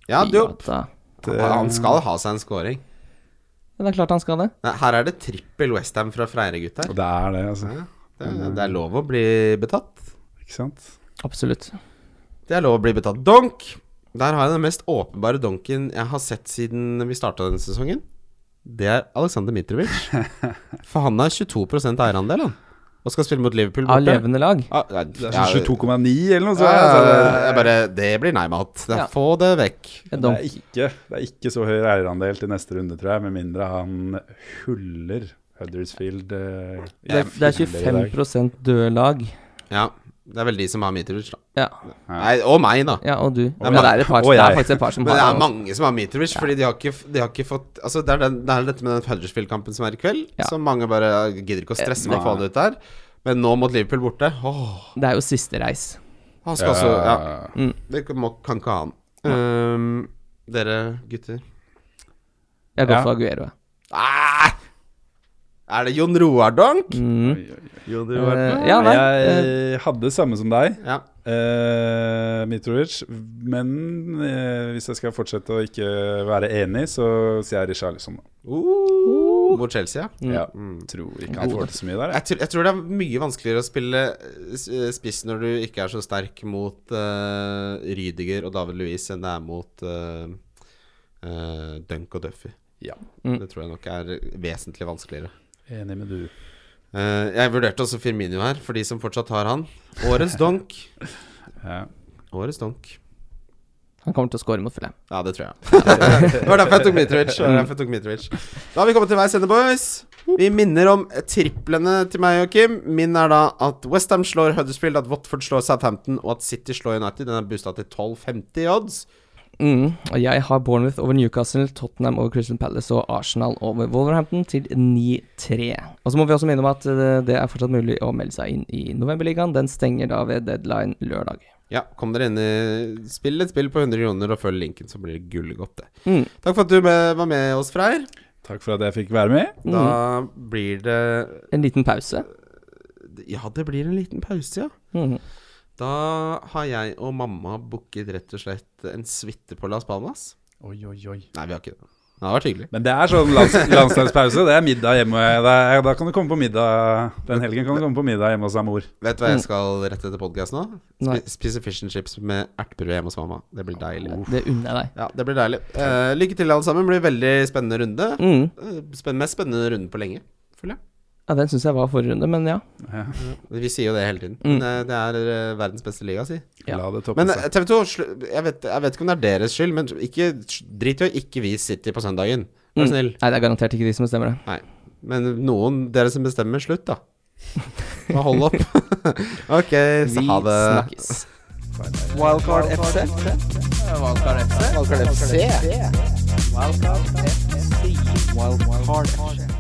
ja du,
da.
Det-
han skal ha seg en scoring.
Ja, det er klart han skal det.
Nei, her er det trippel Westham fra Freire-gutt her.
Og det er det, altså.
Ja, Det, er- det er lov å bli betatt.
Ikke sant?
Absolutt.
Det er lov å bli betatt. Donk! Der har jeg den mest åpenbare donken jeg har sett siden vi starta denne sesongen. Det er Aleksander Mitrovic. For han har 22 eierandel, han. Og skal spille mot Liverpool
Av
borte.
levende lag.
Ah, nei,
Det er
ja,
sånn 22,9 eller
ja,
noe sånt.
ja,
altså,
ja, jeg bare Det blir nei-mat. Det er-
Ja.
Ah. Få det vekk.
En
Det
dom.
er, ikke, det er ikke så høy eierandel til neste runde, tror jeg, med mindre han huller Huddersfield. eh, i
Det, det er
filler i dag.
25 døde lag.
Ja. Det er vel de som har Mitrovic, da.
Ja.
Nei, og meg, da.
ja, og du.
er
Men det
mange-
er, et par,
og
det er
jeg.
faktisk et par som
Men det
har
er mange som har Mitrovic, fordi de har ikke, de har ikke fått Altså Det er, den, det er dette med den Huddersfield-kampen som er i kveld,
Ja.
som mange bare gidder ikke å stresse med å få
Nei.
det ut der. Men nå mot Liverpool borte Åh
Det er jo siste reis.
Han skal også Ja.
Eh,
Det kan, må, kan ikke ha han. Ehm, dere gutter
Jeg går
Ja.
for Aguero. jeg.
ah! Er det Jon Roar Donk?
Mm.
Jon
Eh, ja, nei. eh,
Jeg hadde samme som deg,
Ja.
eh, Mitrovic. Men eh, hvis jeg skal fortsette å ikke være enig, så sier jeg Richarlison. da.
Uh, mot Chelsea, ja.
Mm.
Mm.
Ja, tror ikke han får til så mye der.
Jeg tror, jeg tror det er mye vanskeligere å spille eh, s- eh, spiss når du ikke er så sterk mot uh, Rydiger og David Louis enn det er mot eh, eh, Dunk og Duffy.
Ja.
Mm.
Det tror jeg nok er vesentlig vanskeligere.
jeg. Enig med du.
Eh, jeg vurderte også Firmino her, for de som fortsatt har han. Årets donk.
Ja.
Årets donk.
Han kommer til å score mot Fulham.
Ja, det tror jeg. det var derfor jeg tok Mitrovic. det var derfor jeg tok Mitrovic. Da har vi kommet til veis ende, boys. Vi minner om triplene til meg og Kim. Min er da at Westham slår Huddersfield, at Watford slår Southampton, og at City slår United. Den er boosta til 12,50 i odds.
Mm. Og jeg har Bournemouth over Newcastle, Tottenham over Crystal Palace og Arsenal over Wolverhampton til 9-3. Og så må vi også minne om at eh, det er fortsatt mulig å melde seg inn i Novemberligaen. Den stenger da ved deadline lørdag.
Ja, kom dere inn i Spill et spill på 100 kroner og følg linken, så blir det gull godt, det.
Mm.
Takk for at du med, var med oss, Freyr.
Takk for at jeg fikk være med.
Mm.
Da blir det
En liten pause.
Ja, det blir en liten pause, ja.
Mhm.
Da har jeg og mamma booket rett og slett en suite på Las Palmas.
Oi, oi, oi.
Nei, vi har ikke det. Det har vært hyggelig.
Men det er sånn lands, landslagspause. Det er middag hjemme. Det er, da kan du komme på middag Den helgen kan du komme på middag hjemme hos deg, mor.
Vet du hva jeg skal rett etter podkast nå?
Mm. Nei.
Spi- Spise fish and chips med ertebrød hjemme hos mamma. Det blir deilig.
Det unner jeg deg.
Ja, det blir deilig. Eh, lykke til, alle sammen. Det blir veldig spennende runde.
Mm.
Eh, Spenn mest spennende runde på lenge, føler jeg.
Ja, Den syns jeg var forrige runde, men ja.
Vi sier jo det hele tiden.
Mm.
Men eh, det er eh, verdens beste liga, si.
Ja.
La det toppe
Men eh,
seg.
TV 2, jeg vet, jeg vet ikke om det er deres skyld, men ikke, drit i å ikke vi sitter på søndagen. Vær
Mm.
snill.
Nei, det er garantert ikke de som bestemmer det.
Nei. Men noen Dere som bestemmer, slutt, da. Bare hold opp. ok, så
Vi
ha det.
snakkes.
Wildcard FC. Wildcard FC. Wildcard FC. Wildcard FC. Wildcard FC.